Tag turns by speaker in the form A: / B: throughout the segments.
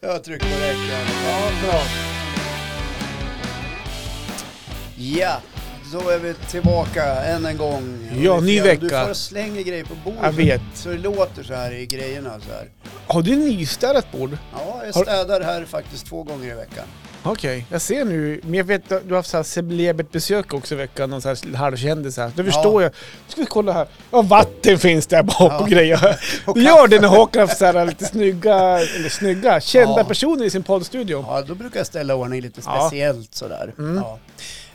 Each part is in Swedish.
A: Jag trycker på räck i alla fall.
B: Ja, bra.
A: Ja, då är vi tillbaka än en gång.
B: Ja, ny
A: Rickard, Du
B: vecka.
A: får slänga grejer på bordet.
B: Jag vet.
A: Så det låter så här i grejerna så här.
B: Har du nystädat bord?
A: Ja, jag
B: Har-
A: städar här faktiskt två gånger i veckan.
B: Okej, jag ser nu. Men jag vet att du har haft så här celebert besök också i veckan, någon så här halvkändis här. Då förstår jag. Nu ska vi kolla här. Ja, vatten finns där bak
A: Ja.
B: och grejer.
A: Och
B: Du gör det när Håkan har haft så här lite snygga, eller snygga, kända
A: Ja.
B: personer i sin poddstudio.
A: Ja, då brukar jag ställa ordning lite
B: Ja. Mm.
A: speciellt sådär. Ja.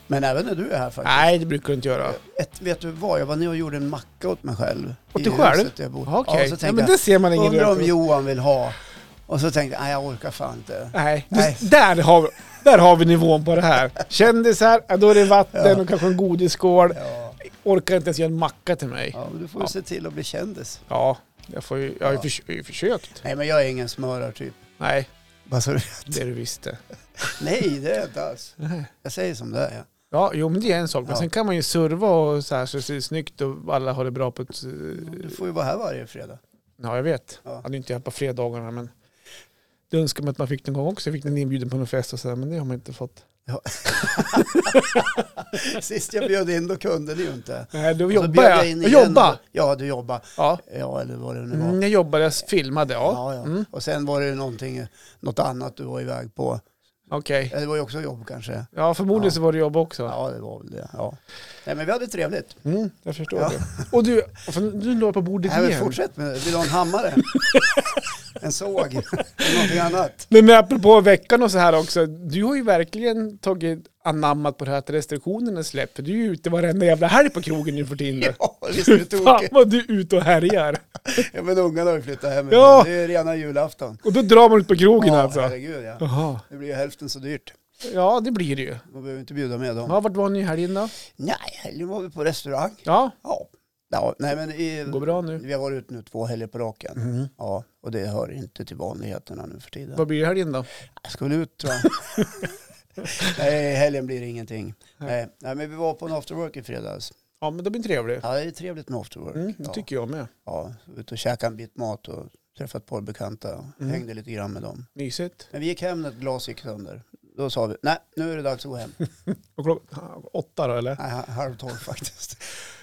A: Men även när du är här faktiskt.
B: Nej, det brukar du inte göra.
A: Ett, vet du vad, jag var nere och gjorde en macka åt mig själv.
B: Ah. Åt
A: i
B: dig själv?
A: huset där Jag bor.
B: Ja, Okej,
A: Ja, så
B: ja,
A: tänkte
B: men det ser man
A: jag,
B: ingen
A: undrar om
B: rök
A: Johan vill ha. Och så tänkte jag, nej jag orkar fan inte.
B: Nej, du,
A: Nej.
B: Där, har, vi- där har vi nivån på det här. Kändisar, ja, då är det vatten
A: Ja.
B: och kanske en godisskål.
A: Ja,
B: Orkar inte ens göra en macka till mig. Ja,
A: ja men du får ju
B: Ja.
A: se till att bli kändis.
B: jag, får ju, jag har ju
A: Ja.
B: förs- jag har ju försökt.
A: Nej men jag är ingen typ. smörartyp.
B: Nej,
A: Vad sa du?
B: det du visste.
A: Nej, det är jag inte alls. Jag säger som det är.
B: Ja, jo men det är en sak. Men
A: Ja.
B: sen kan man ju serva och så här så det ser snyggt och alla har det bra på ett... eh,
A: Du får ju vara här varje fredag.
B: Ja, jag vet.
A: Ja.
B: Jag hade inte jag på fredagarna men... Det önskar man att man fick den gång också. Jag fick en inbjudan på någon fest och sådär men det har man inte fått.
A: Sist jag bjöd in då kunde du ju inte.
B: Nej, då
A: Och så
B: jobbar
A: bjöd
B: jag.
A: in
B: Jag
A: igen
B: jobbar!
A: och- Ja, du jobbar.
B: Alltså, Ja.
A: Ja, eller vad det nu var.
B: Mm, jag jobbade, jag filmade, ja.
A: Ja, ja.
B: Mm.
A: Och sen var det ju någonting, något annat du var iväg på.
B: Okej.
A: Ja, Det var ju också jobb kanske.
B: Ja, förmodligen
A: Ja.
B: så var det jobb också.
A: Ja, det var väl det. Ja. Nej, men vi hade trevligt.
B: Mm, jag förstår
A: Ja.
B: det. Och du, för du la på bordet
A: Nej, men
B: igen.
A: fortsätt med det. Vill du ha en hammare? en såg? Eller någonting annat?
B: Men med apropå veckan och så här också, du har ju verkligen tagit anammat på det här att restriktionerna släpper. För du är ju ute varenda jävla helg på krogen nu för tiden.
A: Ja, visst är det
B: Fan
A: tokigt.
B: vad du är ute och härjar.
A: Ja, men ungarna har ju flyttat hem.
B: Ja.
A: Det är rena julafton.
B: Och då drar man ut på krogen
A: Ja,
B: alltså.
A: herregud ja.
B: Jaha.
A: Det blir ju hälften så dyrt.
B: Ja, det blir det ju.
A: Man behöver inte bjuda med dem.
B: Ja, vart var ni i helgen då?
A: Nej, nu var vi på restaurang.
B: Ja,
A: Ja. ja nej, men i,
B: det går bra nu.
A: Vi har varit ute nu två helger på raken. Ja, och det hör inte till vanligheterna nu för tiden.
B: Vad blir det i helgen då?
A: Jag ska väl ut tror jag. Nej, i helgen blir det ingenting. Nej. Nej, men vi var på en afterwork i fredags.
B: Ja, men det blir trevligt.
A: Ja, det är trevligt med afterwork.
B: Mm, det
A: ja.
B: tycker jag med.
A: ja, ut och käkade en bit mat och träffat ett par bekanta och
B: Mm.
A: hängde lite grann med dem.
B: Mysigt.
A: Men vi gick hem när ett glas gick sönder. Då sa vi, nej, nu är det dags att gå hem.
B: Och klockan åtta då eller?
A: nej, halv tolv faktiskt.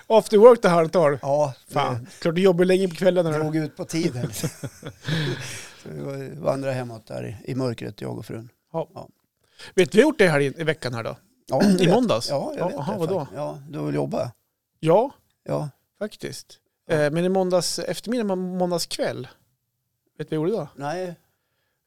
B: After work till halv tolv.
A: Ja,
B: Fan, klart du jobbar länge på kvällen.
A: det
B: eller?
A: drog ut på tiden. så vi vandrade hemåt där i, i mörkret, jag och frun.
B: Vet du vad jag har gjort det här i, i veckan här då?
A: Ja, jag
B: I
A: vet.
B: måndags?
A: Ja, jag vet
B: Jaha,
A: det,
B: vadå?
A: faktiskt. Ja, du vill jobba?
B: Ja,
A: Ja.
B: faktiskt. Eh, Men i måndags eftermiddag, må- måndags kväll. Vet du vad jag gjorde då?
A: Nej.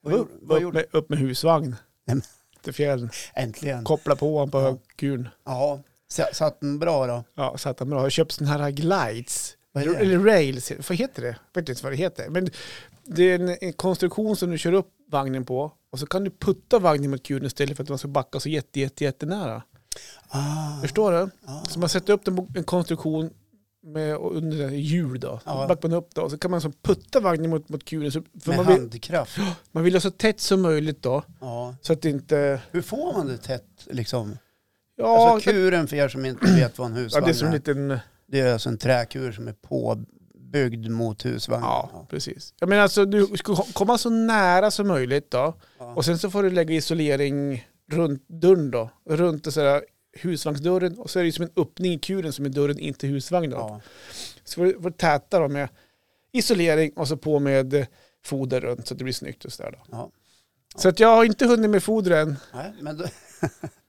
A: Vad,
B: Upp,
A: gjorde- vad
B: upp,
A: gjorde
B: med, upp med husvagn.
A: Nej, men-
B: Till fjällen.
A: Äntligen.
B: Koppla på honom på
A: Ja.
B: högkulen.
A: Ja, s- satt den bra då?
B: Ja, så att han bra. Jag köpte sådana här glides.
A: Vad är det?
B: Eller rails. Vad heter det? Jag vet inte vad det heter. Men det är en, en konstruktion som du kör upp vagnen på. Och så kan du putta vagnen mot kulen istället för att man ska backa så jätte, jätte, jättenära.
A: Ah,
B: Förstår du?
A: ah.
B: Så man sätter upp den på en konstruktion med, och under en hjul då.
A: Ja.
B: Ja. Backar man upp då. Så kan man så putta vagnen mot, mot kulen. Så, för
A: Med
B: man, vill,
A: handkraft.
B: man vill ha så tätt som möjligt då.
A: Ja.
B: Så att det inte...
A: Hur får man det tätt liksom?
B: Ja,
A: alltså kuren för er som inte vet vad en
B: ja
A: husvagn
B: det är som en liten...
A: det är alltså en träkur som är påbyggd mot husvagnen.
B: Ja, precis. Jag menar alltså du ska ho- komma så nära som möjligt då.
A: Ja.
B: Och sen så får du lägga isolering runt dörren då. Runt den så här husvagnsdörren. Och så är det ju som en öppning i kuren som är dörren in till husvagnen. då.
A: Ja.
B: Så får du får du täta då med isolering och så på med eh, foder runt så att det blir snyggt och sådär då.
A: Ja.
B: Så att jag har inte hunnit med foder än.
A: Nej, men då,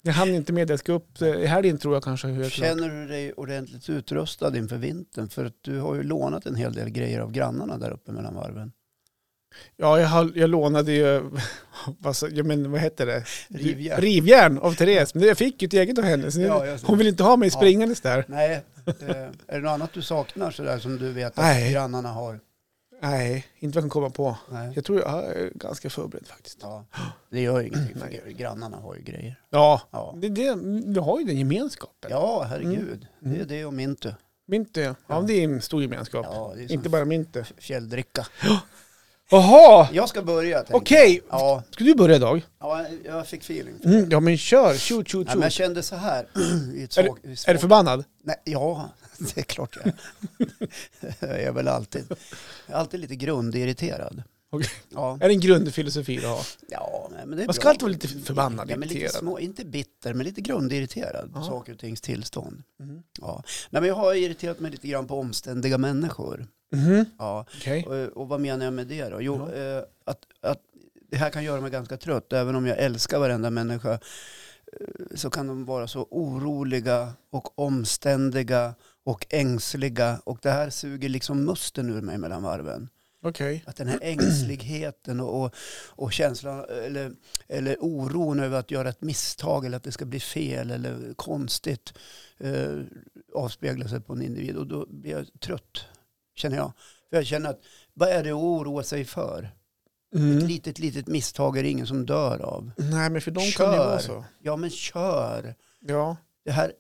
B: Jag hann inte med det. Jag ska upp eh, i helgen tror jag kanske. Hur jag klarar.
A: känner du dig ordentligt utrustad inför vintern? För att du har ju lånat en hel del grejer av grannarna där uppe mellan varven.
B: Ja, jag, har, jag lånade ju, vad, sa- ja, men, vad heter det?
A: Rivjärn.
B: Rivjärn av Therese. Men jag fick ju ett eget av henne. Så nu,
A: Ja, jag ser.
B: hon vill inte ha mig
A: Ja.
B: springandes där.
A: Nej, eh, är det något annat du saknar sådär som du vet att
B: Nej.
A: grannarna har?
B: Nej, inte vad jag kan komma på.
A: Nej.
B: Jag tror jag är ganska förberedd faktiskt.
A: Ja, det gör ingenting för
B: Nej. Mm.
A: grannarna har ju grejer.
B: Ja,
A: Ja,
B: det, det, vi har ju den gemenskapen.
A: ja herregud.
B: Mm.
A: Det är det och Mintu.
B: Minte, ja,
A: Ja.
B: det är en stor gemenskap.
A: Ja, det är som
B: inte bara Minte.
A: fjälldricka.
B: Jaha!
A: Jag ska börja. tänkte jag.
B: Okej,
A: Ja,
B: ska du börja idag?
A: ja, jag fick feeling.
B: Mm, ja men kör, shoot, shoot,
A: Nej, men jag
B: shoot.
A: kände så här. I ett
B: Är
A: svag, i ett
B: Är du
A: svag,
B: förbannad?
A: nej, ja, det är klart jag är. jag är väl alltid. Jag är alltid lite grundirriterad.
B: Okej.
A: Ja,
B: Är det en grundfilosofi du har?
A: ja nej, men det är
B: Man ska
A: bra.
B: alltid vara lite förbannad,
A: ja, men lite
B: irriterad.
A: små, Inte bitter, men lite grundirriterad på
B: Ja.
A: saker och tings tillstånd.
B: Mm.
A: Ja. Nej, men jag har irriterat mig lite grann på omständiga människor.
B: Mhm.
A: Ja.
B: Okej.
A: Och, och vad menar jag med det då? Jo, eh, att, att det här kan göra mig ganska trött. Även om jag älskar varenda människa eh, så kan de vara så oroliga och omständiga och ängsliga. Och det här suger liksom musten ur mig mellan varven.
B: Okej.
A: Att den här ängsligheten och, och, och känslan eller, eller oron över att göra ett misstag eller att det ska bli fel eller konstigt eh, avspeglar sig på en individ. Och då blir jag trött, känner jag. För jag känner att vad är det att oroa sig för? Ett
B: Mm.
A: litet, litet misstag är det ingen som dör av.
B: Nej, men för dem kan det ju
A: Kör.
B: vara så.
A: Ja, men kör!
B: Ja.
A: Det här,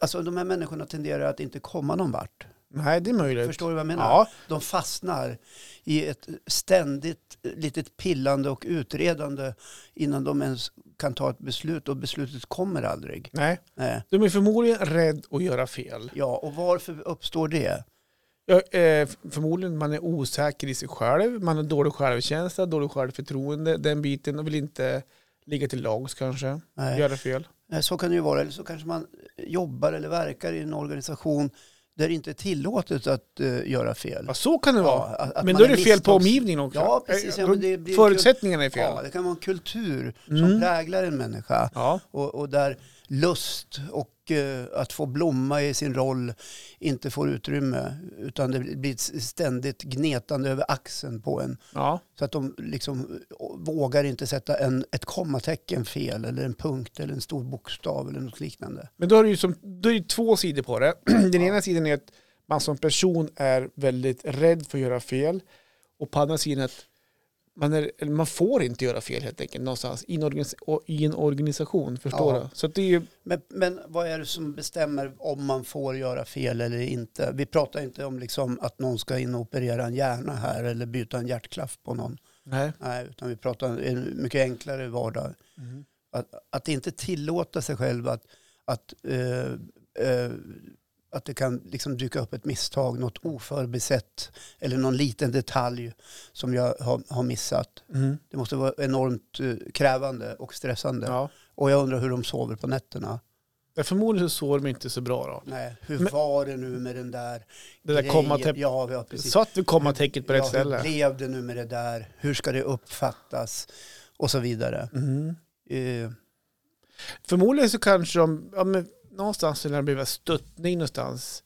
A: alltså de här människorna tenderar att inte komma någon vart.
B: Nej, det är möjligt.
A: Förstår du vad jag menar?
B: Ja.
A: De fastnar i ett ständigt litet pillande och utredande innan de ens kan ta ett beslut och beslutet kommer aldrig.
B: Nej.
A: Nej.
B: De är förmodligen rädd att göra fel.
A: Ja, och varför uppstår det?
B: Ja, eh, förmodligen man är osäker i sig själv, man har dålig självkänsla, dålig självförtroende, den biten och vill inte ligga till lags kanske,
A: Nej.
B: göra fel.
A: Nej, Så kan det ju vara. Eller så kanske man jobbar eller verkar i en organisation där det inte är tillåtet att eh, göra fel.
B: Ja, så kan det vara.
A: att- att
B: men
A: man
B: då är det fel på
A: misstags-
B: omgivningen också.
A: Ja, precis.
B: Eh,
A: Ja, men det blir
B: Förutsättningarna är
A: Ja,
B: fel.
A: det kan vara en kultur
B: Mm.
A: som präglar en människa.
B: Ja.
A: Och, och där lust och eh, att få blomma i sin roll inte får utrymme. Utan det blir ett ständigt gnetande över axeln på en.
B: ja.
A: Så att de liksom vågar inte sätta en, ett kommatecken fel eller en punkt eller en stor bokstav eller något liknande.
B: Men då är det ju som, då är det ju två sidor på det. Den ena sidan är att man som person är väldigt rädd för att göra fel. Och på andra sidan att man, är, eller man får inte göra fel helt enkelt någonstans i en, organis- och- i en organisation. Förstår
A: Ja.
B: du? Så att det är ju,
A: Men, men vad är det som bestämmer om man får göra fel eller inte? Vi pratar inte om liksom att någon ska in och operera en hjärna här eller byta en hjärtklaff på någon.
B: nej.
A: Nej, utan vi pratar om en mycket enklare vardag.
B: Mm.
A: Att, att inte tillåta sig själv att, att, eh, eh, att det kan liksom dyka upp ett misstag, något oförbisett eller någon liten detalj som jag har, har missat.
B: Mm.
A: Det måste vara enormt eh, krävande och stressande.
B: Ja.
A: Och jag undrar hur de sover på nätterna.
B: Ja, Förmodligen så sover de inte så bra då.
A: Nej, hur
B: Men-
A: var det nu med den där
B: Det där
A: grejen?
B: kommatecknet.
A: Ja, ja, precis.
B: Så att du kommer tecknet på rätt
A: ja,
B: ställe.
A: Hur blev det nu med det där? Hur ska det uppfattas? Och så vidare.
B: Mm.
A: Eh,
B: Förmodligen så kanske de, ja, men någonstans skulle de behöva stöttning någonstans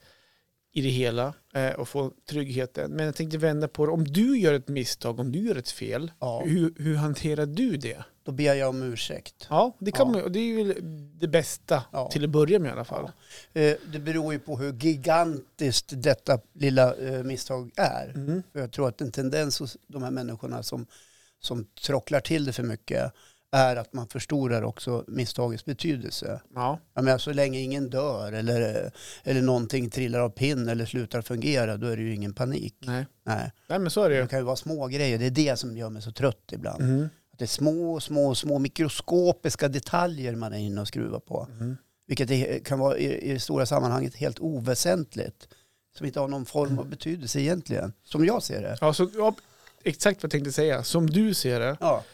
B: i det hela eh, och få tryggheten. Men jag tänkte vända på det, om du gör ett misstag, om du gör ett fel,
A: ja.
B: hur, hur hanterar du det?
A: Då ber jag om ursäkt.
B: Ja, det, kan
A: Ja.
B: Man, och det är ju det bästa
A: Ja.
B: till att börja med i alla fall.
A: Eh, Det beror ju på hur gigantiskt detta lilla eh, misstag är.
B: Mm.
A: För Jag tror att en tendens hos de här människorna som, som trocklar till det för mycket är att man förstorar också misstagets betydelse.
B: Ja.
A: Jag menar, så länge ingen dör eller, eller någonting trillar av pinn eller slutar fungera, då är det ju ingen panik.
B: Nej.
A: Nej.
B: Nej, men så är det
A: Det
B: ju.
A: kan ju vara små grejer. det är det som gör mig så trött ibland.
B: Mm.
A: Att det är små, små, små mikroskopiska detaljer man är inne och skruvar på.
B: Mm.
A: Vilket är, kan vara i, i det stora sammanhanget helt oväsentligt. Som inte har någon form av betydelse egentligen. Som jag ser det.
B: Ja, så, ja, exakt vad jag tänkte säga, som du ser det.
A: Ja,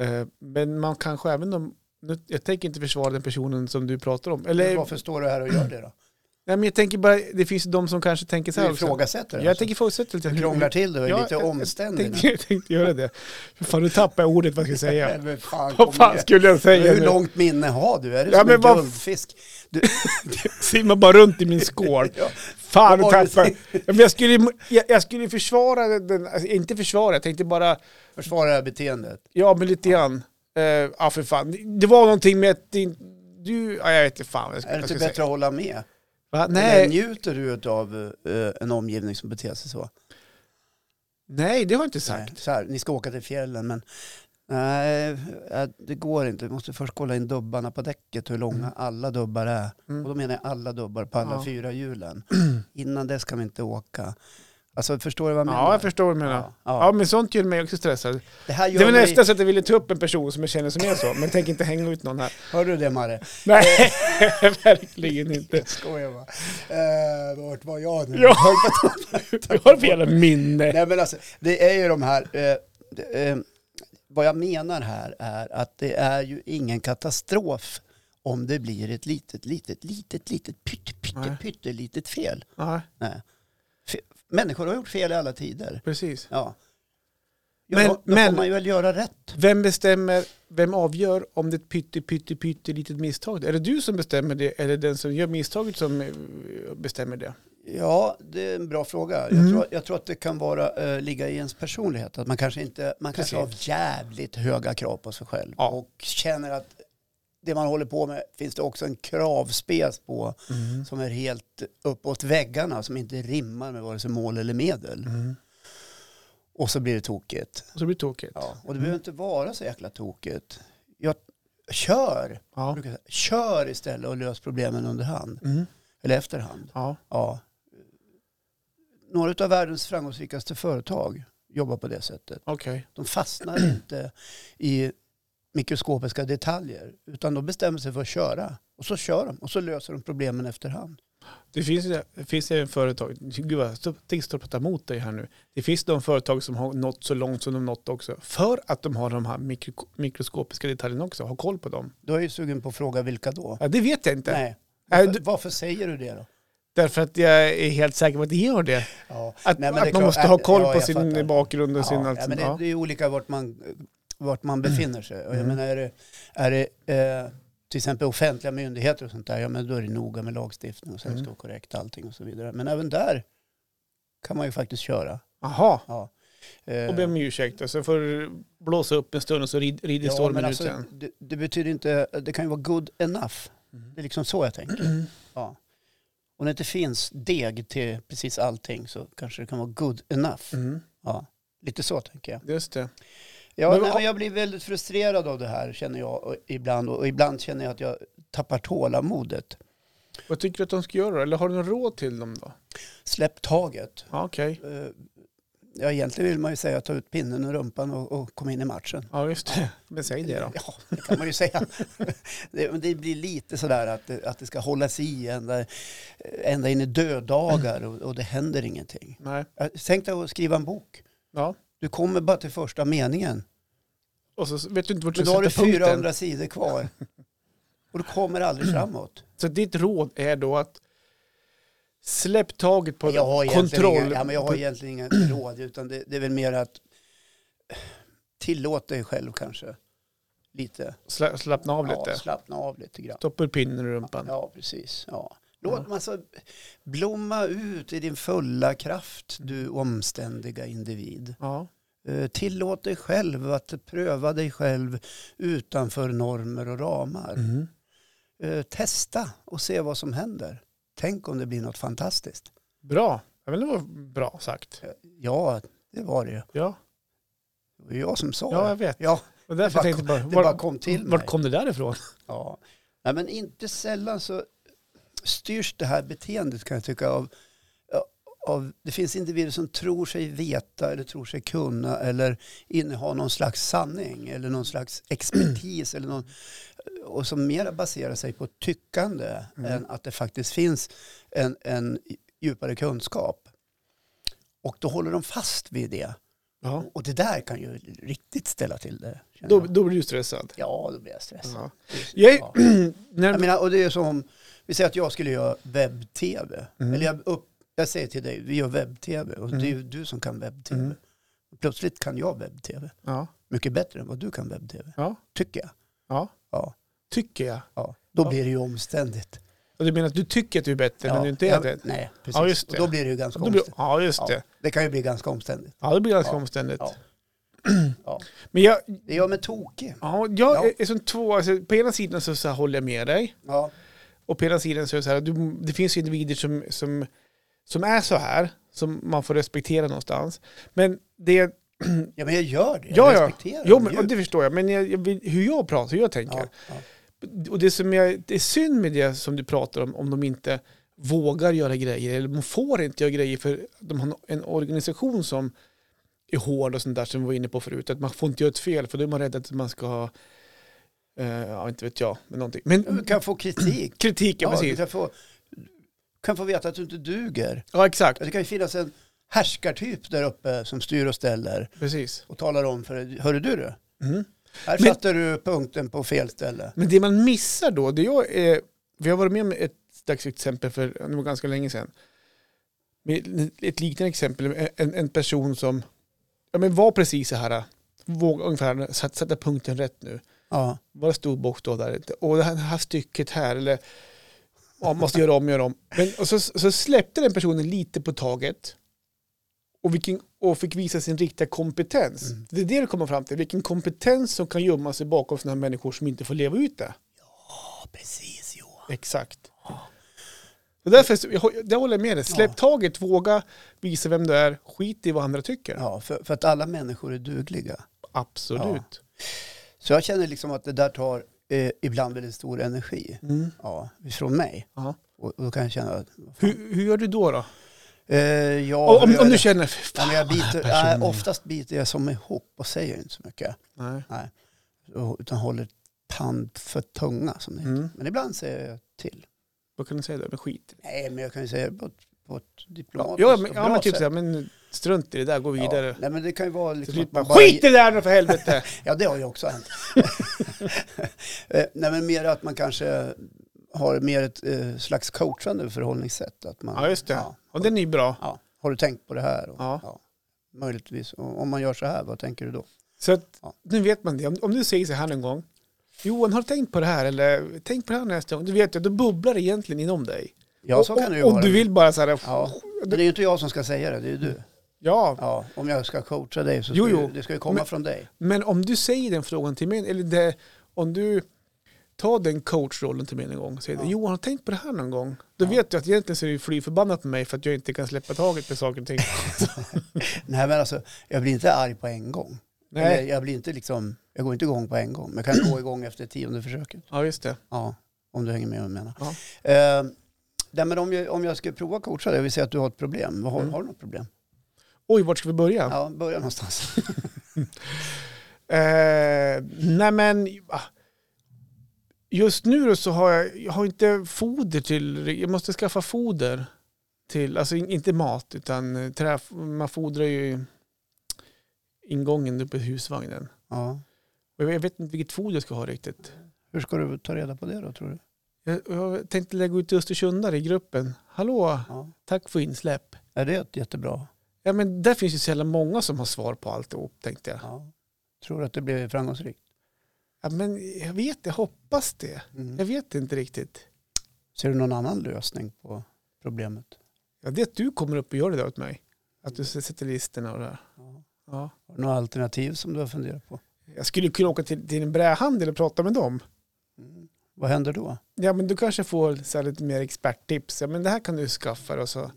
B: Eh, men man kanske även de, nu, jag tänker inte försvara den personen som du pratar om.
A: eller,
B: Eller,
A: varför står du här och gör det då?
B: nej, men jag tänker bara, det finns ju de som kanske tänker så här.
A: Du
B: också.
A: ifrågasätter det. alltså.
B: Jag tänker fortsätta lite.
A: du krånglar till det och är
B: Ja,
A: lite
B: jag- jag
A: omständig.
B: tänkte, jag tänkte göra det. För fan, nu tappar jag ordet vad jag ska säga.
A: Men fan, kom
B: Vad fan
A: igen.
B: skulle jag säga
A: Hur
B: nu?
A: långt minne har du? Är du
B: Ja,
A: som
B: men
A: en
B: vad-
A: guldfisk? Du,
B: Simmar bara runt i min skål.
A: ja,
B: Fan, nu
A: Vad var det
B: tappar jag. Ja, men jag. Skulle, jag, jag skulle försvara den, alltså, inte försvara, jag tänkte bara,
A: försvara det här beteendet.
B: ja men lite grann. Eh, ja för fan, det var någonting med att din, du, ja, jag vet inte fan vad jag ska,
A: Är det
B: vad
A: inte
B: jag
A: bättre
B: ska säga.
A: att hålla med?
B: Va?
A: Eller
B: Nej,
A: njuter du av eh, en omgivning som beter sig så?
B: nej, det har jag inte sagt.
A: Nej, Så här, ni ska åka till fjällen men nej, eh, det går inte. Vi måste först kolla in dubbarna på däcket, hur långa alla dubbar är.
B: Mm.
A: Och då menar jag alla dubbar på alla
B: Ja.
A: fyra hjulen. Innan dess kan vi inte åka. Alltså förstår du vad jag menar?
B: Ja, jag förstår vad du menar.
A: Ja,
B: Ja,
A: ja.
B: men sånt gör mig också stressad.
A: Det här
B: Det
A: gör
B: var
A: mig...
B: nästan så att jag ville ta upp en person som jag känner som är så, men tänk inte hänga ut någon här.
A: Hör du det Marre?
B: Nej, verkligen inte.
A: Jag skojar bara. Eh, vart var jag nu?
B: Jag har fel minne.
A: Nej men alltså, det är ju de här, eh, det, eh, vad jag menar här är att det är ju ingen katastrof om det blir ett litet, litet, litet, litet, pytte, pytte,
B: Nej.
A: pyttelitet fel.
B: Ja,
A: Nej. Fe- Människor har gjort fel i alla tider.
B: precis.
A: Ja. Ja,
B: Men-
A: men, då, då
B: men-
A: får man ju väl göra rätt.
B: Vem bestämmer, vem avgör om det är ett pytte, pytte, pytte litet misstag? Är det du som bestämmer det eller den som gör misstaget som eh, bestämmer det?
A: Ja, det är en bra fråga. Jag,
B: Mm.
A: tror, jag tror att det kan vara, eh, ligga i ens personlighet. Att man kanske, inte, man kanske har
B: Precis.
A: jävligt höga krav på sig själv.
B: Ja.
A: Och känner att det man håller på med finns det också en kravspes på
B: Mm.
A: som är helt uppåt väggarna som inte rimmar med vare sig mål eller medel.
B: Mm.
A: Och så blir det tokigt.
B: Och så blir det tokigt.
A: Ja. Och det
B: Mm.
A: behöver inte vara så jäkla tokigt. Jag, kör! Jag
B: Ja.
A: brukar säga, kör istället och lös problemen under hand.
B: Mm.
A: Eller efterhand.
B: ja.
A: Ja. Några av världens framgångsrikaste företag jobbar på det sättet.
B: Okej.
A: De fastnar inte i mikroskopiska detaljer utan de bestämmer sig för att köra. Och så kör de och så löser de problemen efterhand.
B: Det finns, ju- det finns även företag, gud vad jag tänker stå och prata emot dig här nu. Det finns de företag som har nått så långt som de nått också. För att de har de här mikro, mikroskopiska detaljerna också, har koll på dem.
A: Då är jag ju sugen på att fråga vilka då?
B: Ja, det vet jag inte.
A: Nej.
B: Nej,
A: Varför,
B: du-
A: varför säger du det då?
B: Därför att jag är helt säker på att det gör det.
A: Ja.
B: Att,
A: Nej, men det är
B: att man
A: klart-
B: måste
A: ja,
B: ha koll
A: ja,
B: på
A: jag
B: sin
A: fattar.
B: bakgrund och sin
A: Ja,
B: allt
A: ja, men
B: sånt.
A: det,
B: Ja.
A: det är olika vart man, vart man befinner sig. Och jag
B: Mm.
A: menar, är det, är det eh, till exempel offentliga myndigheter och sånt där, ja men då är det noga med lagstiftning och sen
B: Mm.
A: ska korrekt allting och så vidare. Men även där kan man ju faktiskt köra.
B: Jaha,
A: Ja. Eh,
B: och be om ursäkt. Och så får du blåsa upp en stund och så rid- rider
A: ja,
B: stormen
A: men
B: ut
A: alltså,
B: sen.
A: det, det betyder inte, det kan ju vara good enough. Det är liksom så jag tänker.
B: Mm.
A: Ja. Om det inte finns deg till precis allting så kanske det kan vara good enough.
B: Mm.
A: Ja. Lite så tänker jag.
B: Just det.
A: Ja, nej,
B: Men vad-
A: men jag blir väldigt frustrerad av det här känner jag och ibland. Och ibland känner jag att jag tappar tålamodet.
B: Vad tycker du att de ska göra då? Eller har du något råd till dem då?
A: Släpp taget.
B: Ja, Okej,
A: Eh, Ja, egentligen vill man ju säga ta ut pinnen ur rumpan och, och kom in i matchen.
B: ja just det. Men säg det då.
A: Ja, det kan man ju säga. det, men det blir lite sådär att det, att det ska hållas i ända, ända in i döddagar och, och det händer ingenting.
B: Nej.
A: Ja, Tänk dig att skriva en bok.
B: Ja.
A: Du kommer bara till första meningen.
B: Och så vet du inte vart du
A: Men då har
B: sätter
A: du
B: punkten.
A: 400 sidor kvar. Och du kommer aldrig framåt.
B: Så ditt råd är då att släpp taget på
A: jag har egentligen
B: kontroll.
A: Inga, ja, men jag har egentligen inga råd, utan det, det är väl mer att tillåta dig själv kanske. Lite.
B: Sla, slappna av
A: Ja,
B: lite.
A: slappna av lite grann.
B: Stoppa ur pinnen i rumpan.
A: Ja, precis. Ja. Låt man så blomma ut i din fulla kraft, du omständiga individ.
B: Ja.
A: Eh, Tillåt dig själv att pröva dig själv utanför normer och ramar.
B: Mm.
A: Eh, Testa och se vad som händer. Tänk om det blir något fantastiskt.
B: Bra. Ja, men det var bra sagt.
A: Eh, Ja, det var det ju.
B: Ja,
A: Det var jag som sa
B: ja
A: det.
B: jag vet.
A: Ja,
B: Och därför
A: bara
B: tänkte jag
A: det
B: bara,
A: bara
B: var,
A: kom till mig.
B: vart kom det där ifrån?
A: Ja. Nej, men inte sällan så styrs det här beteendet kan jag tycka av, av, det finns individer som tror sig veta eller tror sig kunna eller inneha någon slags sanning eller någon slags expertis eller någon, och som mera baserar sig på tyckande
B: Mm.
A: än att det faktiskt finns en, en djupare kunskap. Och då håller de fast vid det.
B: Ja.
A: Och det där kan ju riktigt ställa till det. känner
B: Då,
A: jag.
B: då blir du stressad.
A: Ja, då blir jag stressad.
B: Ja. Jag,
A: Ja.
B: när,
A: Jag menar, och det är som, vi säger att jag skulle göra webb-tv.
B: Mm.
A: Eller jag, upp, jag säger till dig, vi gör webb-tv. Och det är ju du som kan webb-tv.
B: Mm.
A: Plötsligt kan jag webb-tv.
B: ja.
A: Mycket bättre än vad du kan webb-tv.
B: Ja.
A: Tycker jag.
B: ja,
A: Ja.
B: tycker jag.
A: ja. Då
B: Ja.
A: blir det ju omständigt.
B: Och du menar att du tycker att du är bättre
A: ja.
B: men du inte är
A: Ja,
B: det?
A: Nej, precis.
B: Ja, just
A: Och
B: det.
A: då blir det ju ganska
B: Då blir,
A: omständigt.
B: ja, just
A: Ja.
B: det.
A: Det kan ju bli ganska omständigt.
B: Ja, det blir ganska
A: Ja.
B: omständigt.
A: Ja. Ja.
B: Men jag,
A: Det gör mig tokig.
B: Ja, jag
A: Ja.
B: är- är som två, alltså, på ena sidan så, så här, håller jag med dig
A: Ja.
B: och på ena sidan så är det så här, du, det finns ju individer som, som, som är så här, som man får respektera någonstans. Men det,
A: ja, men jag gör det.
B: Ja,
A: Jag
B: ja.
A: respekterar
B: jo,
A: det
B: men,
A: ju.
B: och det förstår jag, men jag, jag, vill- hur jag pratar, hur jag tänker.
A: ja, ja.
B: Och det som jag, det är synd med det som du pratar om, om de inte vågar göra grejer eller man får inte göra grejer för de har en organisation som är hård och sånt där som vi var inne på förut. Att man får inte göra ett fel för då är man rädd att man ska ha, eh, ja inte vet jag, men någonting.
A: Du
B: Men
A: kan få kritik.
B: kritiken,
A: Mm. Ja, du
B: precis.
A: kan få, kan få veta att du inte duger.
B: Ja exakt,
A: Alltså, Det kan ju finnas en härskartyp där uppe som styr och ställer
B: precis.
A: och talar om för dig, hörru du du,
B: Mm.
A: här
B: Men-
A: satte du punkten på fel ställe.
B: Men det man missar då, det jag är, vi har varit med om ett slags exempel för det var ganska länge sedan. Med Ett liknande exempel, en, en person som ja, men var precis så här, våga ungefär satt- sätta punkten rätt nu.
A: Ja,
B: Var det stor bokstav där? Och det här, det här stycket här, eller ja, måste göra om, göra om. Men, och så, så släppte den personen lite på taget och, vilken, och fick visa sin riktiga kompetens. Det är det du kommer fram till, vilken kompetens som kan gömma sig bakom sådana här människor som inte får leva ut det.
A: precis Johan.
B: Exakt. Och därför, så- jag hå- det håller jag med dig. Släpp taget, våga visa vem du är, skit i vad andra tycker.
A: Ja, för, för att alla människor är dugliga.
B: Absolut.
A: Så jag känner liksom att det där tar eh, ibland väldigt stor energi. Ja, Mm. från mig.
B: Ja.
A: Och, och då kan jag känna att...
B: Hur, hur gör du då? då?
A: Eh, ja,
B: Om- om,
A: jag-
B: om du Ah, känner,
A: Ja,
B: fan
A: men jag biter,
B: den här
A: nej,
B: personen.
A: oftast biter jag som ihop och säger inte så mycket.
B: Nej.
A: Och- Utan håller tand för tunga som det heter.
B: Mm.
A: Men ibland säger jag till.
B: Vad kan du säga då? Men skit
A: Nej, men jag kan ju säga det på ett, på ett diplomatiskt
B: Ja,
A: och
B: men,
A: bra
B: ja, men typ
A: sätt.
B: såhär, men strunt i det där, gå vidare.
A: Ja, nej, men det kan ju vara liksom
B: Typ
A: att man
B: bara,
A: bara...
B: Skit i det där nu för helvete!
A: Ja, det har ju också hänt. Eh, nej, men mer att man kanske har mer ett eh, slags coachande förhållningssätt. Att man,
B: ja, just det.
A: Ja,
B: Och den är ju bra.
A: ja. Har du tänkt på det här? Och,
B: Ja.
A: Möjligtvis. Och, om man gör så här, vad tänker du då?
B: Så att,
A: Ja.
B: nu vet man det. Om, om du säger så här en gång, Johan, har du tänkt på det här? Eller tänk på det här nästa gång. Du vet ju, då bubblar det egentligen inom dig.
A: Ja, så kan det ju
B: och, och
A: vara.
B: du vill bara så här,
A: Ja. Men det är ju inte jag som ska säga det, det är ju du.
B: ja.
A: Ja, om jag ska coacha dig så ska
B: Jo,
A: ju-
B: jo.
A: det ska ju komma
B: Men-
A: från dig.
B: Men om du säger den frågan till mig, eller det, om du tar den coachrollen till mig en gång och säger
A: Ja.
B: Johan, har du tänkt på det här någon gång? Då
A: Ja.
B: vet jag att egentligen så är det ju fly förbannat med mig för att jag inte kan släppa taget på saker och ting.
A: Nej men alltså, jag blir inte arg på en gång. Eller
B: Nej,
A: jag blir inte liksom, jag går inte igång på en gång. Men jag kan gå igång efter tionde försöket.
B: ja just det.
A: Ja, om du hänger med vad jag menar.
B: Ja.
A: Eh, nej, men om, jag, om jag ska prova coacha dig, vi säger att du har ett problem. Vad Har,
B: Mm.
A: har du något problem?
B: Oj, vart ska vi börja?
A: Ja, börja någonstans.
B: Eh, nej men, ah, just nu då så har jag, jag har inte foder till, jag måste skaffa foder till, alltså in- inte mat utan eh, trä, man fodrar ju ingången uppe i husvagnen.
A: Ja.
B: Och jag, jag vet inte vilket foder jag ska ha riktigt.
A: Hur ska du ta reda på det då tror du?
B: Jag, jag tänkte lägga ut till östersundare i gruppen. Hallå,
A: Ja.
B: tack för insläpp.
A: Är det ett jättebra?
B: Ja men där finns ju så jävla många som har svar på alltihop tänkte jag.
A: Ja. Tror du att det blir framgångsrikt?
B: Ja, men jag vet, jag hoppas det. Jag
A: Mm.
B: vet inte riktigt.
A: Ser du någon annan lösning på problemet?
B: Ja, det är att du kommer upp och gör det där åt mig. Att du s- sätter listorna och det där.
A: Ja.
B: Ja.
A: Har du några alternativ som du har funderat på?
B: Jag skulle kunna åka till, till en brädhandel och prata med dem.
A: Mm. Vad händer då?
B: Ja, men du kanske får så här, lite mer experttips. Ja, men det här kan du skaffa dig och så.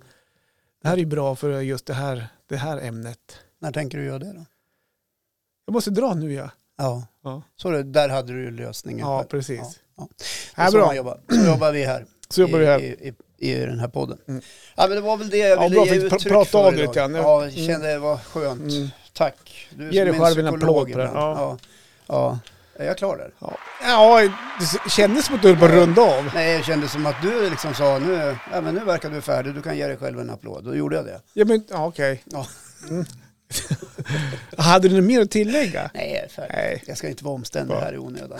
B: Det här är ju bra för just det här, det här ämnet.
A: När tänker du göra det då?
B: Jag måste dra nu ja.
A: Ja,
B: Ja,
A: så det, där hade du ju lösningen.
B: ja
A: själv.
B: precis.
A: Ja. Ja. Alltså, eh,
B: Ja,
A: Så, man
B: bra.
A: jobbar. så jobbar vi här.
B: Så jobbar vi här.
A: I, i, I den här podden.
B: Mm.
A: Ja, men det var väl det jag
B: Ja,
A: ville
B: bra,
A: ge
B: fick pr-
A: uttryck
B: prata
A: för
B: av dig
A: idag.
B: lite grann.
A: Ja, jag
B: Mm.
A: kände det var skönt.
B: Mm.
A: Tack. Du
B: Ge dig
A: som är
B: själv en
A: psykolog
B: applåd på det.
A: ibland. Ja.
B: Ja.
A: Ja. Är jag klar där?
B: Ja, ja det s- kändes som att du höll på att runda av.
A: Nej, jag kände som att du liksom sa nu, ja, men nu verkar du färdig, du kan ge dig själv en applåd. Då gjorde jag det.
B: Ja, men ja, okej.
A: Ja.
B: Mm. Hade du något mer att tillägga?
A: Nej, jag är färdig.
B: Nej.
A: Jag ska inte vara omständig
B: Bra.
A: här i onödan.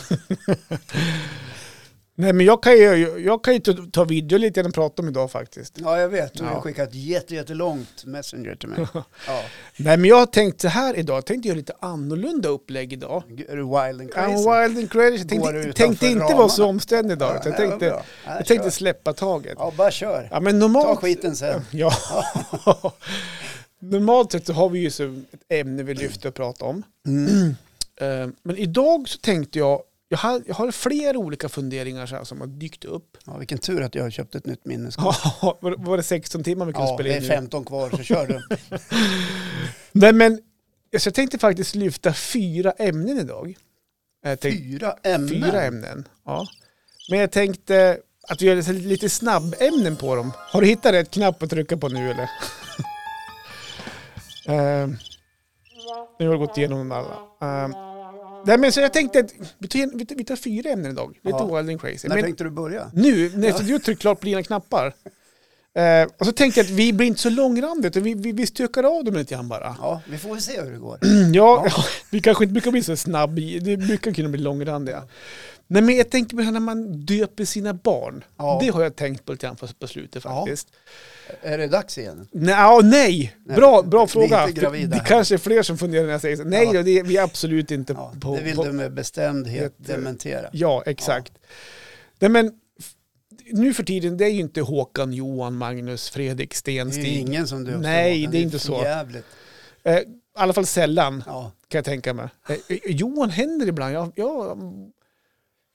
B: Nej, men jag kan ju, jag kan ju ta- ta video lite grann och prata om idag faktiskt.
A: Ja, jag vet. Du har
B: Ja.
A: skickat jätte, jättelångt Messenger till mig. Ja.
B: Nej, men jag har tänkt så här idag. Jag tänkte göra lite annorlunda upplägg idag.
A: Är du wild and
B: I'm
A: crazy?
B: wild and crazy.
A: Går
B: Jag tänkte,
A: utanför
B: tänkte inte
A: ramarna.
B: vara så omständig idag.
A: Ja,
B: utan jag
A: nej, vad
B: tänkte,
A: bra. Ja,
B: jag
A: kör.
B: tänkte släppa taget.
A: Ja, bara kör.
B: Ja, men
A: Ta
B: normalt...
A: skiten sen.
B: Ja. normalt sett så har vi ju så ett ämne vi lyfter och pratar om.
A: Mm.
B: Eh, Men idag så tänkte jag, jag har, jag har flera olika funderingar så här som har dykt upp.
A: Ja, vilken tur att jag har köpt ett nytt minneskort.
B: Ja, var det- var det 16 timmar vi kunde
A: Ja,
B: spela
A: det
B: in
A: är
B: nu?
A: 15 kvar så kör du.
B: Nej men, alltså jag tänkte faktiskt lyfta fyra Eh, ämnen idag. Jag tänkte,
A: Fyra ämnen.
B: fyra ämnen. Ja. Men jag tänkte, att vi gör lite- lite snabbämnen på dem. Har du hittat rätt knapp att trycka på nu eller? Ehm, nu har jag gått igenom dem alla. Ehm, nej men så jag tänkte att vi tar, vi tar, vi tar fyra ämnen idag. Lite
A: Ja.
B: wild and crazy.
A: När
B: Men
A: tänkte du börja?
B: nu, när du har tryckt klart på dina knappar. Ehm, och så tänkte jag att vi blir inte så långrandiga utan vi, vi, vi stökar av dem lite grann bara.
A: Ja, vi får väl se hur det går.
B: Ja, vi kanske inte brukar bli så snabb, i- det brukar kunna bli långrandiga. Nej men jag tänker på det här när man döper sina barn.
A: Ja.
B: Det har jag tänkt på lite grann på- på slutet faktiskt.
A: Är det dags igen?
B: Nej, ja, nej.
A: Nej,
B: bra, bra
A: vi är
B: fråga.
A: inte gravida
B: det
A: här.
B: kanske är fler som funderar när jag säger så. Nej
A: Ja.
B: då, det är vi absolut inte
A: Ja,
B: på.
A: det vill
B: på
A: du med bestämdhet dementera.
B: Ja, exakt. Nej men, f- nu för tiden, det är ju inte Håkan, Johan, Magnus, Fredrik,
A: Det
B: Sten,
A: är ju
B: Stig.
A: ingen som döps
B: Nej,
A: till Håkan.
B: det är
A: ju
B: inte så.
A: för Jävligt.
B: Eh, I alla fall sällan.
A: Ja,
B: kan jag tänka mig. Eh, Johan händer ibland. Jag, jag,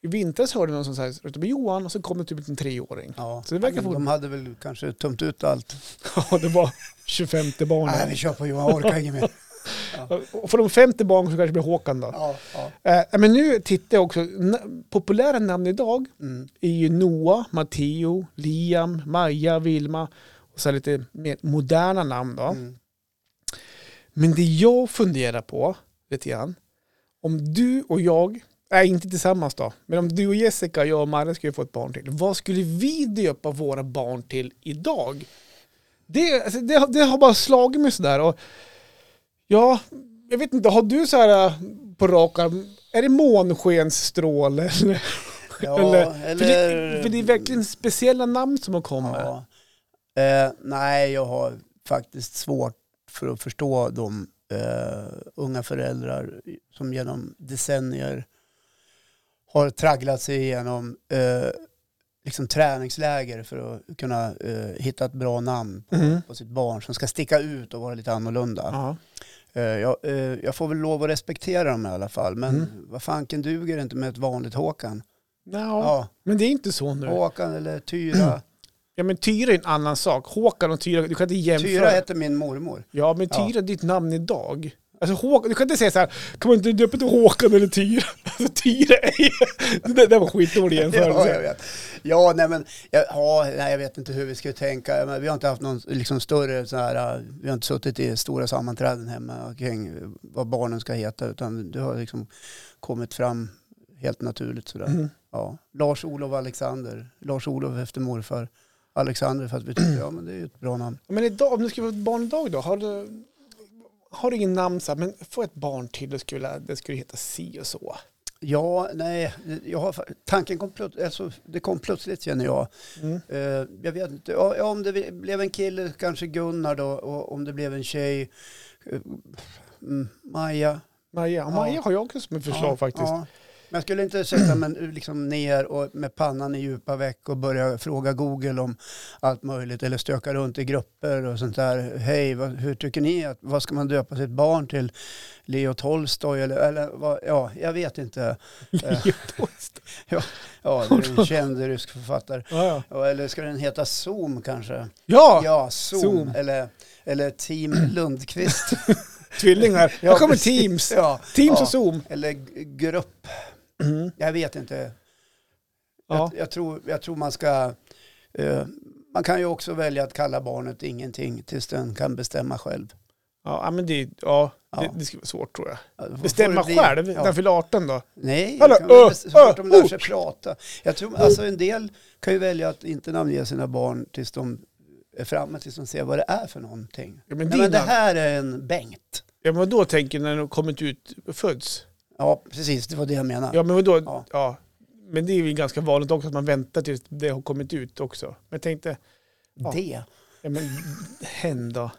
B: I vintras hörde jag någon som sa att Johan och så kommer typ en treåring.
A: ja.
B: Så det verkar
A: Men
B: få-
A: De hade väl kanske tömt ut allt.
B: Ja, det var 25
A: Nej, vi
B: barn.
A: kör på Johan, jag orkar inget mer.
B: Och för de 50 barnen så kanske det blir Håkan då.
A: Ja, ja.
B: Eh, men nu tittar jag också. Na- populära namn idag
A: Mm.
B: är ju Noah, Matteo, Liam, Maja, Vilma och så här lite mer moderna namn då.
A: Mm.
B: Men det jag funderar på lite grann, om du och jag, nej inte tillsammans då, men om du och Jessica, jag och Marre skulle få ett barn till, vad skulle vi döpa våra barn till idag? Det, alltså, det, har- det har bara slagit mig sådär och ja, jag vet inte, har du så här äh, på rak arm, är det månskensstråle eller?
A: Ja,
B: För, det,
A: eller-
B: för det är verkligen speciella namn som har kommit.
A: Ja. Eh, nej, jag har faktiskt svårt för att förstå de eh, unga föräldrar som genom decennier har tragglat sig igenom eh, liksom träningsläger för att kunna eh, hitta ett bra namn på,
B: Mhm.
A: på sitt barn som ska sticka ut och vara lite annorlunda.
B: Ja.
A: Eh, jag, eh, jag får väl lov att respektera dem i alla fall, men
B: Mm.
A: vad fanken duger inte med ett vanligt Håkan?
B: Nå,
A: Ja,
B: men det är inte så nu.
A: Håkan eller Tyra.
B: Ja men Tyra är en annan sak. Håkan och Tyra, du kan inte jämföra.
A: Tyra hette min mormor.
B: Ja men Tyra
A: Ja.
B: är ditt namn idag. Alltså Håkan, du kan inte säga så här, kan man inte döpa till Håkan eller Tyra? Alltså Tyra är Det där var skitdålig
A: Ja,
B: jämförelse.
A: jag vet. Ja, nej, men, ja, ja, nej, jag vet inte hur vi skulle tänka. Men vi har inte haft någon liksom, större så här, eh, vi har inte suttit i stora sammanträden hemma kring eh, vad barnen ska heta, utan det har liksom kommit fram helt naturligt sådär.
B: Mm.
A: Ja. Lars-Olof Alexander, Lars-Olof efter morfar, Alexander för att vi tyckte, ja men det är ju ett bra namn.
B: Men idag, om du ska få ett barn idag då, har du, har du ingen namn så här, men få ett barn till, det skulle, det skulle heta si och så.
A: Ja, nej, jag har, fa- tanken kom plötsligt, alltså, det kom plötsligt känner jag.
B: Mm.
A: Eh, jag vet inte, ja, ja, om det blev en kille kanske Gunnar då och om det blev en tjej eh, mm, Maja.
B: Maja, och Maja
A: Ja.
B: har jag också som ett förslag
A: Ja,
B: faktiskt.
A: ja. Men jag skulle inte sätta mig liksom ner och med pannan i djupa veck och börja fråga Google om allt möjligt eller stöka runt i grupper och sånt där. Hej, vad, hur tycker ni? Att, vad ska man döpa sitt barn till? Leo Tolstoj eller, eller vad, ja, jag vet inte. Eh, ja, det är en känd rysk författare.
B: Ja, ja.
A: Ja, eller ska den heta Zoom kanske?
B: ja,
A: Ja, Zoom.
B: Zoom.
A: Eller, eller Team Lundqvist.
B: tvillingar.
A: Ja,
B: Här kommer
A: precis.
B: Teams.
A: ja.
B: Teams
A: Ja.
B: och Zoom.
A: Eller g- grupp.
B: Mm.
A: Jag vet inte.
B: Ja.
A: Jag, jag, tror, jag tror man ska... eh, man kan ju också välja att kalla barnet ingenting tills den kan bestämma själv.
B: Ja, men det, ja, det,
A: Ja.
B: det skulle vara svårt tror jag.
A: Ja, då får- får
B: Bestämma
A: det bli-
B: själv när
A: ja.
B: jag fyller 18 då.
A: Nej,
B: Hallå,
A: det kan vara
B: ö,
A: svårt
B: ö,
A: om de lär
B: ort.
A: sig prata. Jag tror, alltså en del kan ju välja att inte namnge sina barn tills de är framme, tills de ser vad det är för någonting.
B: Ja, men,
A: Nej,
B: dina,
A: men det här är en Bengt.
B: ja, men då tänker jag när de kommit ut och föds?
A: Ja, precis, det var det jag menade.
B: Ja, men vadå? Ja.
A: Ja.
B: Men det är ju ganska vanligt också att man väntar tills det har kommit ut också. Men jag tänkte, ja.
A: Det.
B: ja, men hen då?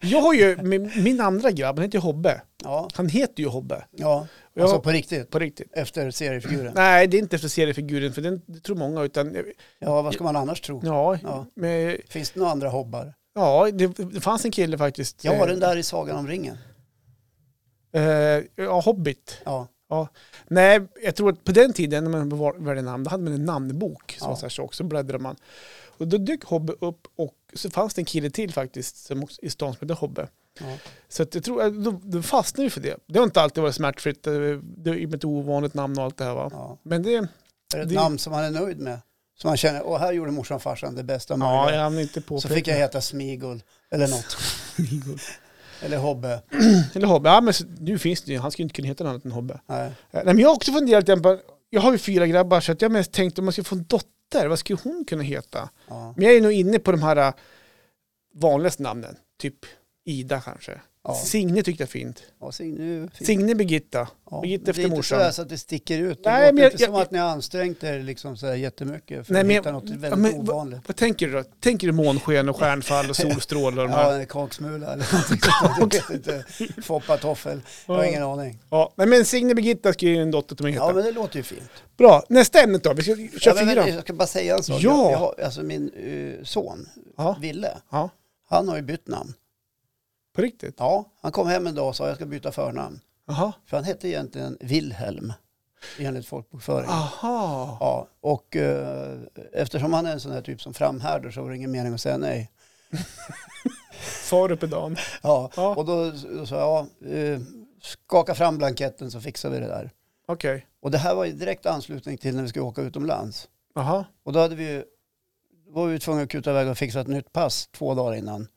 B: Jag har ju, min, min andra grabb, han heter ju Hobbe.
A: Ja,
B: Han heter ju Hobbe.
A: ja.
B: Och Jag,
A: alltså på riktigt.
B: på riktigt.
A: Efter seriefiguren.
B: Nej, det är inte för seriefiguren, för den det tror många, utan
A: Ja, vad ska man annars tro?
B: ja,
A: Ja.
B: Men,
A: Finns det några andra hobbar?
B: ja det, det fanns en kille faktiskt.
A: Ja,
B: eh,
A: den där i Sagan om ringen.
B: Eh, ja, Hobbit.
A: Ja,
B: Nej, jag tror att på den tiden när man val- valde namn, då hade man en namnbok som
A: Ja.
B: var så här tjock, så bläddrade man. Och då dök Hobbe upp och så fanns det en kille till faktiskt som också, i stan som hette Hobbe.
A: ja.
B: Så att jag tror, att då, då fastnade vi för det. Det har inte alltid varit smärtfritt, eh, det är ju ett ovanligt namn och allt det här va.
A: ja.
B: Men det,
A: Är det ett
B: Det-
A: namn som man är nöjd med? Så man känner, åh här gjorde morsan och farsan det bästa
B: Ja,
A: möjliga.
B: jag hamnar inte på
A: Så fick jag heta Smigol eller något. eller Hobbe.
B: Eller Hobbe. Ja, men så- nu finns det ju. Han skulle inte kunna heta något annat än Hobbe.
A: Nej.
B: Eh, Nej, men jag har också funderat lite på, jag har ju fyra grabbar så att jag mest tänkte om man skulle få en dotter, vad skulle hon kunna heta?
A: Ja.
B: Men jag är nog inne på de här eh, vanligaste namnen, typ Ida kanske.
A: Ja.
B: Signe tyckte jag är fint.
A: Ja, Signe, nu fick-
B: Signe Birgitta.
A: ja.
B: Birgitta
A: Det är
B: efter
A: inte
B: morsan.
A: sådär så att det sticker ut. Det
B: Nej,
A: låter
B: men jag-
A: inte som
B: jag-
A: att ni har ansträngt er liksom sådär jättemycket för
B: Nej,
A: att
B: men-
A: hitta något
B: ja,
A: väldigt
B: men-
A: ovanligt.
B: Vad tänker du då? Tänker du månsken och stjärnfall och solstrålar och de här?
A: Ja, en kaksmula eller någonting sånt. Jag vet inte. Foppa toffel. Jag har ingen aning.
B: Ja, nej, men Signe Birgitta skulle ju en dotter till mig heta.
A: Ja, men det låter ju fint.
B: Bra, nästa ämne då. Vi ska
A: Ja,
B: köra
A: men,
B: fyra.
A: men, jag ska bara säga en sak.
B: Ja.
A: Jag, jag har, alltså min eh, son,
B: Ja,
A: Ville,
B: ja,
A: han har ju bytt namn.
B: på riktigt.
A: Ja, han kom hem en dag och sa jag ska byta förnamn.
B: Jaha.
A: För han hette egentligen Wilhelm, enligt
B: Ah.
A: folkbokföringen.
B: Aha.
A: Ja, och eh, eftersom han är en sån här typ som framhärdar så var det ingen mening att säga nej.
B: Far uppe dagen.
A: Ja,
B: Ja.
A: och då, då sa jag, eh, skaka fram blanketten så fixar vi det där.
B: Okej.
A: Och det här var i direkt anslutning till när vi skulle åka utomlands.
B: Jaha.
A: Och då hade vi ju, då var vi tvungna att kuta iväg och fixa ett nytt pass två dagar innan.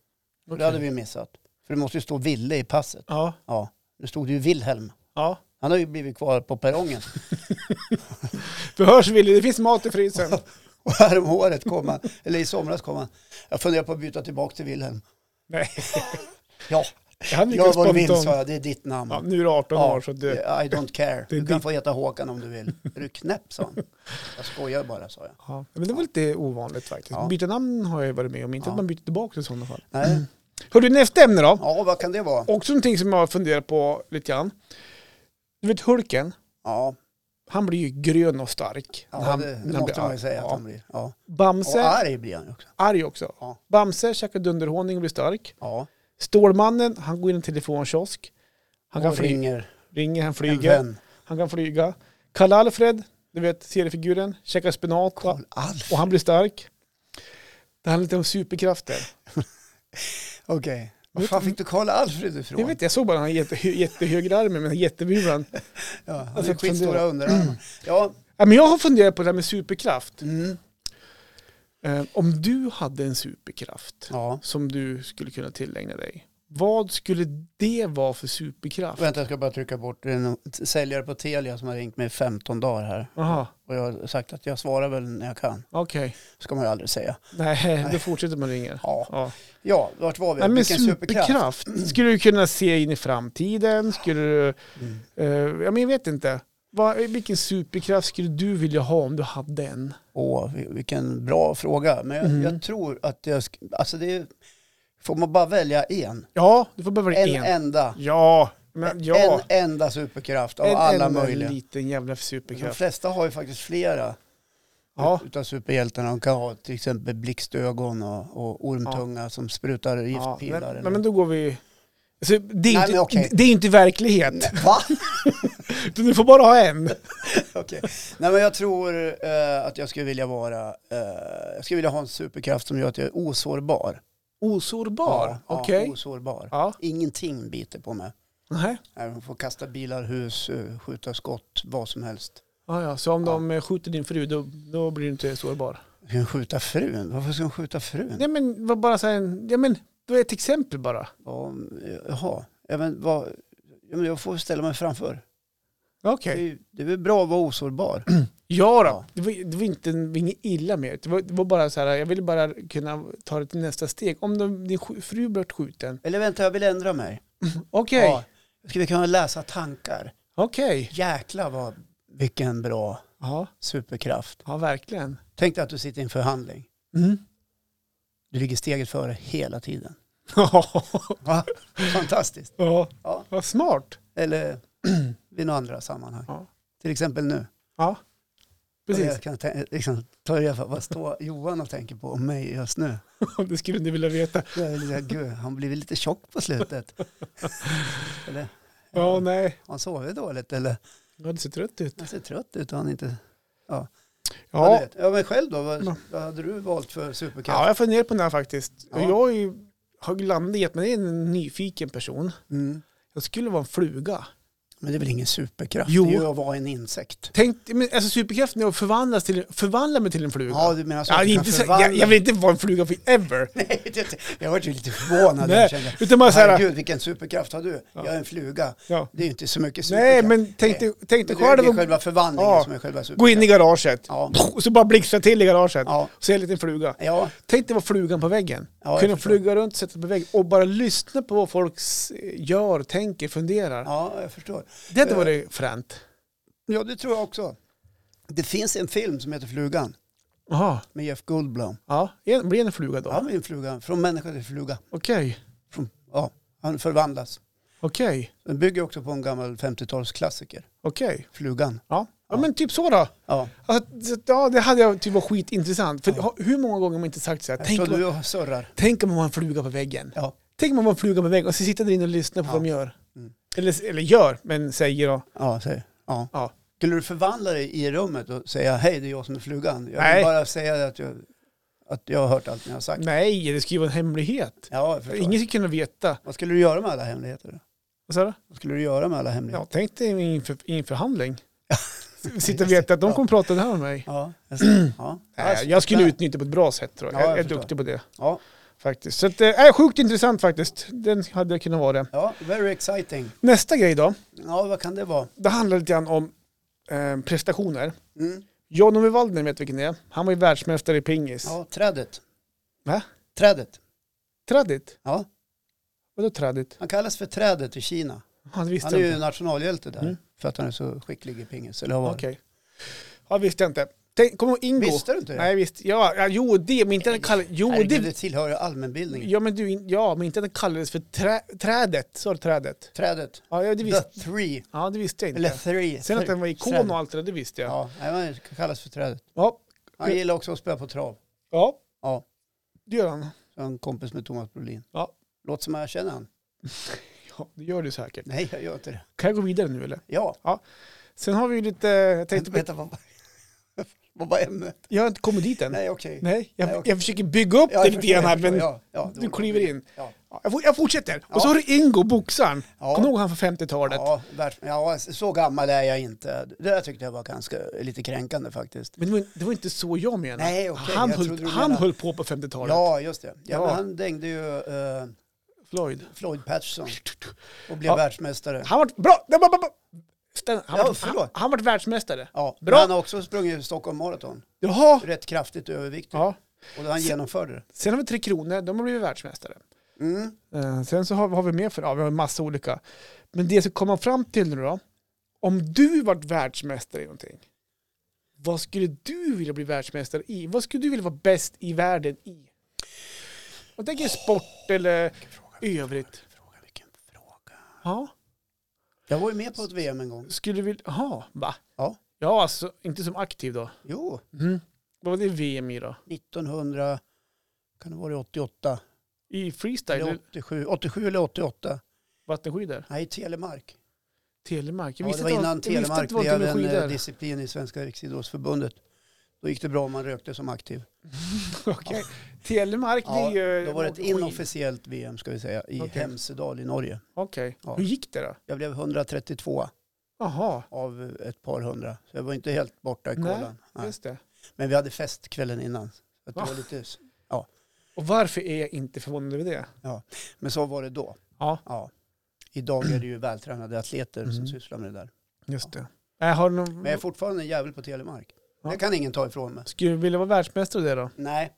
B: okej.
A: Det hade vi ju missat. För det måste ju stå Ville i passet.
B: Ja,
A: Ja, nu stod det ju Wilhelm.
B: ja.
A: Han har ju blivit kvar på perrongen.
B: Du hörs Wille, det finns mat i frysen.
A: Och härom året kom han, eller i somras kom han. Jag funderar på att byta tillbaka till Wilhelm.
B: Nej,
A: Ja,
B: han
A: jag
B: lyckades
A: var vill
B: spontant.
A: sa jag, det är ditt namn.
B: Ja, nu är du 18 år så du...
A: I don't care.
B: det är
A: Du kan
B: ditt.
A: få heta Håkan om du vill. Är du knäpp, sa han. Jag skojar bara, sa jag.
B: Ja, men det var lite ovanligt faktiskt.
A: Ja.
B: Byta namn har jag ju varit med om, inte att
A: Ja.
B: man byter tillbaka i sådana fall.
A: Nej.
B: Hör du, nästa ämne då.
A: Ja, vad kan det vara?
B: Också någonting som jag har funderat på lite grann. Du vet Hulken,
A: Ja,
B: han blir ju grön och stark. när
A: ja
B: han,
A: det,
B: när
A: det
B: han
A: måste
B: blir
A: man
B: arg.
A: ju säga att
B: Ja.
A: han blir. Ja. Och
B: Bamse,
A: arg blir han ju också.
B: arg också.
A: Ja.
B: Bamse käkar dunderhonung och blir stark.
A: Ja,
B: Stålmannen, han går in i en telefonkiosk. Han kan
A: och
B: flyga,
A: ringer
B: ringer, han
A: en
B: flyger.
A: vän.
B: Han kan flyga. Karl-Alfred, du vet seriefiguren, käkar spenat
A: Carl Alf.
B: och han blir stark. Det handlar lite om superkrafter.
A: Okej. Var fan fick du Carl Alfred ifrån?
B: Jag vet inte, jag såg bara han jätte, jättehögra armen med jättemulan.
A: Ja, han
B: Alltså,
A: har skitstora
B: fundera.
A: underarmar. Ja,
B: Ja, men jag har funderat på det här med superkraft.
A: mm.
B: Eh, om du hade en superkraft
A: ja.
B: som du skulle kunna tillägna dig, vad skulle det vara för superkraft?
A: Vänta, jag ska bara trycka bort. Det är en säljare på Telia som har ringt mig i 15 dagar här.
B: Jaha,
A: Och jag har sagt att jag svarar väl när jag kan.
B: okej.
A: ska man ju aldrig säga.
B: Nej, då fortsätter man ringa.
A: Ja,
B: Ja.
A: ja vart var vi?
B: Nej, men
A: Vilken superkraft.
B: superkraft, skulle du kunna se in i framtiden? Skulle du,
A: Mm.
B: eh, ja, men jag vet inte. Vad, vilken superkraft skulle du vilja ha om du hade en?
A: Åh, vil- vilken bra fråga. Men jag,
B: Mm.
A: jag tror att jag... sk- Alltså det är, Får man bara välja en?
B: Ja, du får bara välja
A: En,
B: en.
A: enda.
B: Ja, men ja.
A: En enda superkraft av
B: En
A: alla
B: enda
A: möjliga.
B: liten jävla
A: De
B: superkraft.
A: flesta har ju faktiskt flera
B: Ja.
A: utav superhjältarna. De kan ha till exempel blixtögon och, och ormtunga som sprutar
B: Ja,
A: giftpilar.
B: men,
A: eller-
B: men då går vi... Alltså, det, är ju
A: Nej,
B: inte,
A: men okej.
B: det är ju inte verklighet.
A: Va?
B: Du får bara ha en.
A: Okej. Nej men jag tror eh, att jag skulle vilja vara, eh, jag skulle vilja ha en superkraft som gör att jag är osårbar.
B: Osårbar?
A: Ja,
B: Okej.
A: ja, osårbar.
B: Ja.
A: Ingenting biter på mig.
B: Nej.
A: Nej, Man får kasta bilar, hus, eh, skjuta skott, vad som helst.
B: Ja, ja. Så om
A: Ja. Mm.
B: de eh, skjuter din fru, då, då blir du inte sårbar?
A: Jag kan skjuta frun. Varför ska hon skjuta frun?
B: Nej, men vad bara så här, en- ja, men det var ett exempel bara.
A: Ja, eh, Jaha, ja, men vad, ja, men jag får ställa mig framför.
B: Okej.
A: Det, är, ju- det är väl bra att vara osårbar.
B: Ja, då.
A: Ja.
B: Det, var, det var inte det var inget illa med det. Det var, det var bara så här, jag ville bara kunna ta det till nästa steg. Om de, din sk- fru blev skjuten.
A: Eller vänta, jag vill ändra mig.
B: Okej,
A: Ja. Ska vi kunna läsa tankar?
B: okej.
A: Jäklar vad, vilken bra
B: Ja,
A: superkraft.
B: ja, verkligen.
A: Tänk dig att du sitter i en förhandling.
B: Mm.
A: Du ligger steget före hela tiden.
B: ja,
A: Va? Fantastiskt. Ja.
B: vad smart.
A: Eller vid några andra sammanhang.
B: Ja.
A: Till exempel nu.
B: Ja, precis.
A: Jag kan tän- liksom, ta reda på vad står Johan och tänker på om mig just nu.
B: Det skulle du vilja veta.
A: Jag är lite, Gud, han blivit lite tjock på slutet. Eller,
B: Ja, nej.
A: han sover dåligt eller
B: Ja, du ser trött ut.
A: han ser trött ut. och Han inte... Ja. du
B: Ja,
A: vet. ja, men själv då? Vad,
B: Ja.
A: vad hade du valt för superkraft?
B: ja jag funderar på den här faktiskt. Och
A: Ja.
B: jag är ju, har landat i att man är en nyfiken person.
A: Mm.
B: Jag skulle vara en fluga.
A: Men det är väl ingen superkraft?
B: Jo.
A: Det är ju att vara en insekt.
B: Tänk, men alltså superkraften är att förvandlas till, förvandla mig till en fluga.
A: Ja, du menar så att
B: Ja,
A: du kan
B: inte, så-
A: förvandla-
B: jag, jag vill inte vara en fluga forever.
A: Nej, det, jag var ju lite förvånad.
B: Nej,
A: jag kände,
B: utan bara så här-
A: Herregud, vilken superkraft har du? Jag är en fluga.
B: Ja.
A: Det är ju inte så mycket
B: Nej,
A: superkraft.
B: men tänk dig, tänk dig
A: Men det är-
B: själv
A: Det är
B: att
A: själva förvandlingen
B: Ja.
A: som är själva superkraften.
B: gå in i garaget
A: Ja.
B: och så bara blixtra till i garaget.
A: Ja.
B: Så är jag en liten fluga.
A: Ja,
B: Tänk dig vara flugan på väggen.
A: Ja, jag
B: Kunna
A: förstår.
B: flyga runt, sätta sig på väggen och bara lyssna på vad folk s- gör, tänker, funderar.
A: ja, jag förstår.
B: Det hade
A: Eh.
B: varit fränt.
A: Ja, det tror jag också. Det finns en film som heter Flugan
B: Jaha,
A: med Jeff Goldblum.
B: ja. En- Blir det en fluga då?
A: Ja, han är en fluga. Från människa till fluga.
B: Okej,
A: Från, ja, han förvandlas.
B: okej,
A: Den bygger också på en gammal 50-talsklassiker.
B: okej.
A: Flugan.
B: Ja. ja, men typ så då.
A: Ja.
B: Alltså, så att, ja, det hade jag tyckt var skitintressant. För ha- hur många gånger har man inte sagt så här,
A: Jag
B: tänk,
A: tror
B: om-
A: du surrar.
B: tänk om man var en fluga på väggen.
A: Ja.
B: Tänk om man var en fluga på väggen och så sitter där inne och lyssnar på
A: Ja.
B: vad de gör.
A: Mm.
B: Eller, eller gör, men säger då.
A: Ja, säg. Ja.
B: Ja.
A: Skulle du förvandla dig i rummet och säga hej, det är jag som är flugan? Jag
B: Nej.
A: vill bara säga att jag, att jag har hört allt ni har sagt.
B: Nej, det ska ju vara en hemlighet.
A: Ja, jag förstår.
B: Ingen ska kunna veta.
A: Vad skulle du göra med alla hemligheter? då?
B: Vad sa du?
A: Vad skulle du göra med alla
B: Ja,
A: hemligheter?
B: tänk dig i en för- i en förhandling. Sitta och veta att de kommer prata det här med mig.
A: Ja, jag ser. ja.
B: Nej, jag skulle utnyttja det på ett bra sätt tror jag.
A: Ja, jag
B: jag är
A: förstår.
B: duktig på det
A: Ja,
B: faktiskt. Så att, eh, sjukt intressant faktiskt. Den hade jag kunnat vara det.
A: ja, very exciting.
B: Nästa grej då.
A: Ja, vad kan det vara?
B: Det handlar lite grann om eh, prestationer.
A: Mm.
B: Jan-Ove Waldner vet vilken det är. Han var ju världsmästare i pingis.
A: Ja, trädet.
B: Va?
A: Trädet.
B: Trädigt?
A: Ja,
B: Vadå trädigt?
A: han kallas för trädet i Kina.
B: Han visste
A: Han är
B: jag
A: ju
B: inte.
A: nationalhjälte där.
B: Mm.
A: För att han är så skicklig i pingis. Eller har varit.
B: Okej. Ja, visste jag inte. Tänk, kom ihåg Ingo.
A: Visste du inte det?
B: Nej, visst. Ja, ja, jo, det. Men inte att den kallades... Jo,
A: Herregud, det
B: det...
A: tillhör ju allmänbildningen.
B: Ja, men du... in- Ja, men inte att den kallades för trä, trädet. Så var det trädet.
A: Trädet.
B: Ja, ja, det
A: The
B: visste,
A: three.
B: ja, det visste jag
A: Eller
B: inte.
A: three.
B: Sen att den var ikon och allt det där, det visste jag.
A: Ja, nej, han kallas för trädet.
B: Ja,
A: Han gillar också att spela på trav.
B: ja
A: Ja,
B: det gör han.
A: så han är en kompis med Thomas Brolin.
B: Ja.
A: Låter som jag känner han.
B: Ja, det gör du säkert.
A: Nej, jag gör inte det.
B: Kan jag gå vidare nu eller?
A: Ja,
B: Sen har vi ju lite... Jag
A: tänkte
B: tänkte på...
A: veta vad, vad var ämnet?
B: Jag har inte kommit dit än.
A: Nej, okej.
B: Nej, jag,
A: Nej, okej.
B: jag försöker bygga upp
A: Ja, jag
B: det lite
A: förstår,
B: grann här,
A: jag förstår.
B: men
A: Ja, ja,
B: du kliver in.
A: Ja,
B: Ja, Jag, for- jag fortsätter.
A: Ja.
B: Och så har du Ingo, boxaren.
A: Ja.
B: Kommer du ihåg han från 50-talet?
A: ja, världs- ja, så gammal är jag inte. Det där tyckte jag var ganska lite kränkande faktiskt.
B: Men det var, det var inte så jag menade.
A: Nej, okej,
B: han
A: jag
B: höll,
A: trodde du
B: han
A: menade-
B: höll på på 50-talet.
A: Ja, just det. Ja,
B: Ja.
A: Men han dängde ju eh,
B: Floyd.
A: Floyd Patterson och blev
B: Ja.
A: världsmästare.
B: Han var bra! Nej, ba- ba- ba- Ställ-
A: Ja,
B: Han var, han,
A: förlåt.
B: han var världsmästare.
A: Ja,
B: Bra.
A: Men han har också sprungit Stockholm Marathon.
B: Jaha!
A: Rätt kraftigt överviktig.
B: Ja.
A: Och han genomförde det.
B: Sen har vi Tre Kronor, de har blivit världsmästare.
A: Mm.
B: Eh, sen så har, har vi mer för, ja vi har en massa olika. Men det som kommer fram till nu då, om du vart världsmästare i någonting, vad skulle du vilja bli världsmästare i? Vad skulle du vilja vara bäst i världen i? Och tänker sport eller övrigt.
A: Fråga, vilken fråga.
B: Ja,
A: Jag var ju med på ett VM en gång.
B: skulle du vilja, jaha, va?
A: Ja. Mm.
B: Ja, alltså inte som aktiv då.
A: Jo,
B: Vad var det VM i då?
A: 1900, kan det vara 88?
B: I freestyle,
A: Eller
B: eller
A: 87, 87 eller 88?
B: vattenskidor?
A: Nej, Telemark.
B: Telemark? Jag
A: Ja,
B: visste
A: det var
B: inte vad-
A: innan
B: jag visste
A: Telemark
B: inte vad
A: blev
B: det var
A: en eh,
B: skidor.
A: disciplin i Svenska Riksidrottsförbundet. Då gick det bra om man rökte som aktiv.
B: Okej. Telemark,
A: Ja,
B: det är ju...
A: då var det ett
B: skid.
A: inofficiellt VM ska vi säga i
B: Okej.
A: Hemsedal i Norge.
B: Okej.
A: Ja.
B: Hur gick det då?
A: Jag blev 132
B: Jaha,
A: av ett par hundra. Så jag var inte helt borta i
B: Nej,
A: kolan. Nej.
B: just det.
A: Men vi hade fest kvällen innan. Så att det
B: Ah.
A: var lite...
B: Och varför är jag inte förvånad över det?
A: Men så var det då.
B: Ja,
A: Ja. Idag är det ju vältränade atleter
B: Mm.
A: som sysslar med det där.
B: just det. Jag Äh, har du någon...
A: Men jag är fortfarande en jävel på telemark.
B: Ja.
A: Det kan ingen ta ifrån mig.
B: Skulle du vilja vara världsmästare i det då?
A: Nej,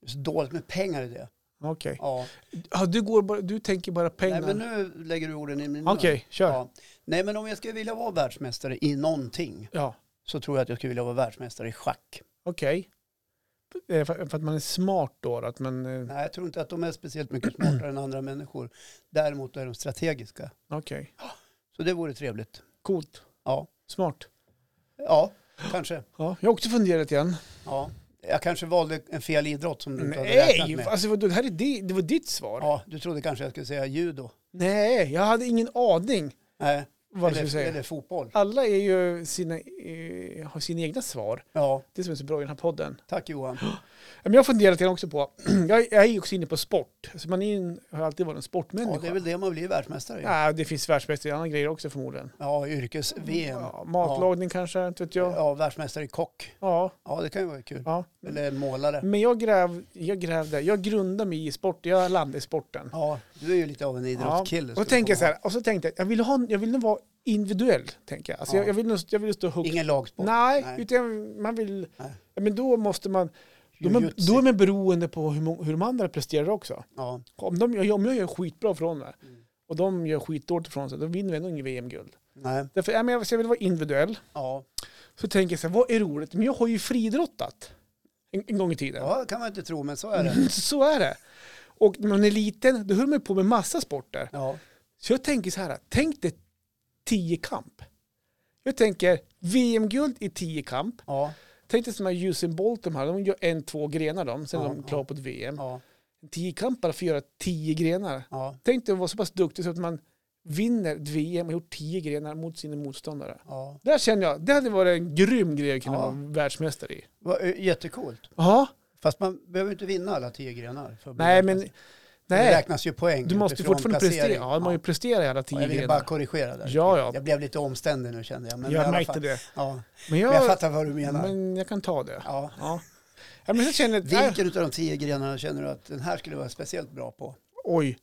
A: det är så dåligt med pengar i det.
B: Okej.
A: Ja.
B: Ja, du, går bara, du tänker bara pengar.
A: Nej, men nu lägger du orden i min mun.
B: Okej, kör. Ja.
A: Ja. Nej, men om jag skulle vilja vara världsmästare i någonting så tror jag att jag skulle vilja vara världsmästare i schack.
B: Okej. Eh, För, för att man är smart då? då, Att man... eh,
A: Nej, jag tror inte att de är speciellt mycket smartare än andra människor. Däremot är de strategiska.
B: Okej.
A: Så det vore trevligt.
B: Coolt.
A: Ja,
B: Smart.
A: ja kanske.
B: Ja, jag har också funderat igen.
A: Ja. Jag kanske valde en fel idrott som du inte hade räknat
B: Nej,
A: med.
B: alltså vadå, det här är det, det var ditt svar.
A: Ja, du trodde kanske jag skulle säga judo.
B: Nej, jag hade ingen aning.
A: Nej,
B: vad ska vi
A: eller,
B: säga?
A: eller fotboll.
B: Alla är ju sina, eh, har sina egna svar.
A: Ja,
B: Det som är så bra i den här podden.
A: tack Johan.
B: Men jag har funderat lite också på, jag, jag är ju också inne på sport. Så man är ju en, har alltid varit en
A: Ja,
B: sportmänniska.
A: det är väl det man blir världsmästare i. Ja,
B: Nej, det finns världsmästare i andra grejer också förmodligen.
A: yrkes-VM.
B: Ja, matlagning kanske, inte vet jag.
A: Ja, världsmästare i kock.
B: Ja,
A: Ja, det kan ju vara kul.
B: ja.
A: Mm. Eller målare.
B: Men jag, gräv, jag grävde, jag grundade mig i sport, jag landade i sporten.
A: Ja, du är ju lite av en idrottskille.
B: och,
A: skulle
B: tänker
A: jag
B: jag så här, och så tänkte jag, jag ville, ha, jag ville vara individuell. Tänker jag. Alltså
A: Ja.
B: jag, jag, ville, jag ville stå
A: komma ihåg.
B: högt.
A: Ingen lagsport.
B: Nej,
A: Nej.
B: utan man vill...
A: Nej.
B: Ja, men då måste man... Då är, man,
A: Jujutsu.
B: då är man beroende på hur, må- hur de andra presterar också.
A: Ja,
B: Om, de, gör- om jag gör skitbra från mig
A: Mm.
B: och de gör skitdåligt från sig, då vinner vi ändå ingen VM-guld.
A: nej.
B: Därför, ja, men jag, så jag vill vara individuell.
A: Ja.
B: Så tänker jag så här, vad är roligt? Men jag har ju friidrottat en, en gång i tiden.
A: ja, det kan man inte tro, men så är det.
B: Så är det. Och när man är liten, då höll man ju på med massa sporter.
A: Ja,
B: Så jag tänker så här, tänk dig tiokamp. Jag tänker VM-guld i tiokamp.
A: ja,
B: Tänk dig som här Usain Bolt, de här, de gör en, två grenar de, sen är
A: Ja,
B: de
A: ja.
B: klara på ett VM.
A: ja,
B: Tiokampare får göra tio grenar.
A: ja.
B: Tänk dig att vara så pass duktig så att man vinner ett VM och gjort tio grenar mot sina motståndare.
A: ja.
B: Där känner jag, det hade varit en grym grej att kunna
A: Ja.
B: vara världsmästare i.
A: Vad, eh, Jättecoolt.
B: Ja,
A: Fast man behöver inte vinna alla tio grenar. För att bli
B: nej men,
A: världsmästare. Det
B: nej,
A: räknas ju poäng
B: du måste ju
A: utifrån
B: fortfarande prestera.
A: placering.
B: Ja, man ju prestera i alla
A: Ja,
B: tio
A: jag ville bara
B: grenar.
A: korrigera där.
B: Ja, ja.
A: Jag blev lite omständig nu kände jag. Men i
B: Jag
A: alla
B: märkte
A: fall-
B: det.
A: Ja.
B: Men
A: Men jag
B: jag,
A: fattar vad du menar.
B: men jag kan ta det.
A: Ja.
B: Ja. ja men jag känner, äh,
A: Vilken av de tio grenarna känner du att den här skulle vara speciellt bra på?
B: oj,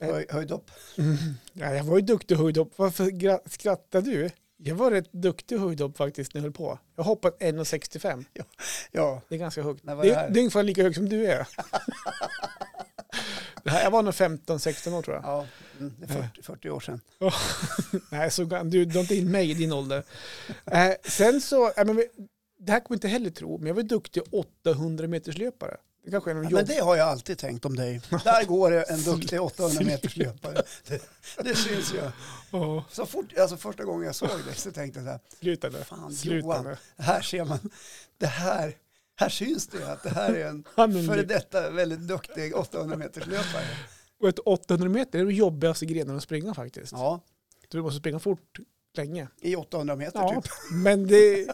B: Eh.
A: Höj, höjd upp.
B: ja, jag var ju duktig höjdhopp. Varför gra- skrattar du? Jag var rätt duktig höjdhopp faktiskt när jag höll på. Jag hoppat 1,65.
A: Ja,
B: Det är ganska högt. Det,
A: När var det här?
B: är- det är ungefär lika högt som du är. det här, jag var nog 15-16 år tror jag.
A: ja. Mm, det är 40, 40 år sedan.
B: Nej, så, gam- du drar inte in mig i din ålder. Eh, sen så, ja, men, vi- det här kommer jag inte heller tro, men jag var duktig 800 meterslöpare. Det kanske är någon
A: Ja,
B: jobb.
A: men det har jag alltid tänkt om dig. Där går det en duktig 800 meters löpare. Det, det syns ju.
B: Åh,
A: Så fort, alltså första gången jag såg dig så tänkte jag så här,
B: sluta nu.
A: Fan,
B: sluta
A: Johan.
B: nu.
A: här ser man, det här, här syns det ju att det här är en
B: Han är en
A: före
B: duk-
A: detta väldigt duktig 800 meters löpare.
B: Och ett 800 meter är den jobbigaste grenen att springa faktiskt.
A: Ja,
B: Du måste springa fort länge.
A: i 800 meter
B: Ja,
A: typ.
B: men det...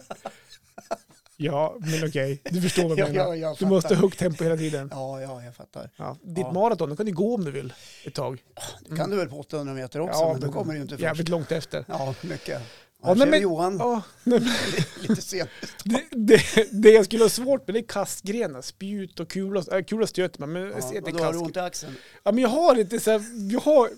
B: Ja, men okej. Du förstår vad
A: Ja,
B: jag menar.
A: ja, jag
B: Du måste
A: fattar.
B: ha högt tempo hela tiden.
A: Ja, ja, jag fattar.
B: Ja, ditt
A: Ja.
B: maraton, då kan du gå om du vill ett tag.
A: Det
B: Mm.
A: kan du väl på 800 meter också, men då kommer du ju inte först.
B: Jävligt långt efter.
A: Ja, mycket.
B: nej,
A: Här ser vi
B: men-
A: Johan
B: Ja, nej, men
A: lite sent.
B: det, det, det jag skulle ha svårt med det är kastgrenar, spjut och kula. Äh, kula stöter man, men jag ser
A: Ja,
B: inte
A: och då har du
B: kast.
A: ont i axeln.
B: Ja, men jag har lite så här, jag har,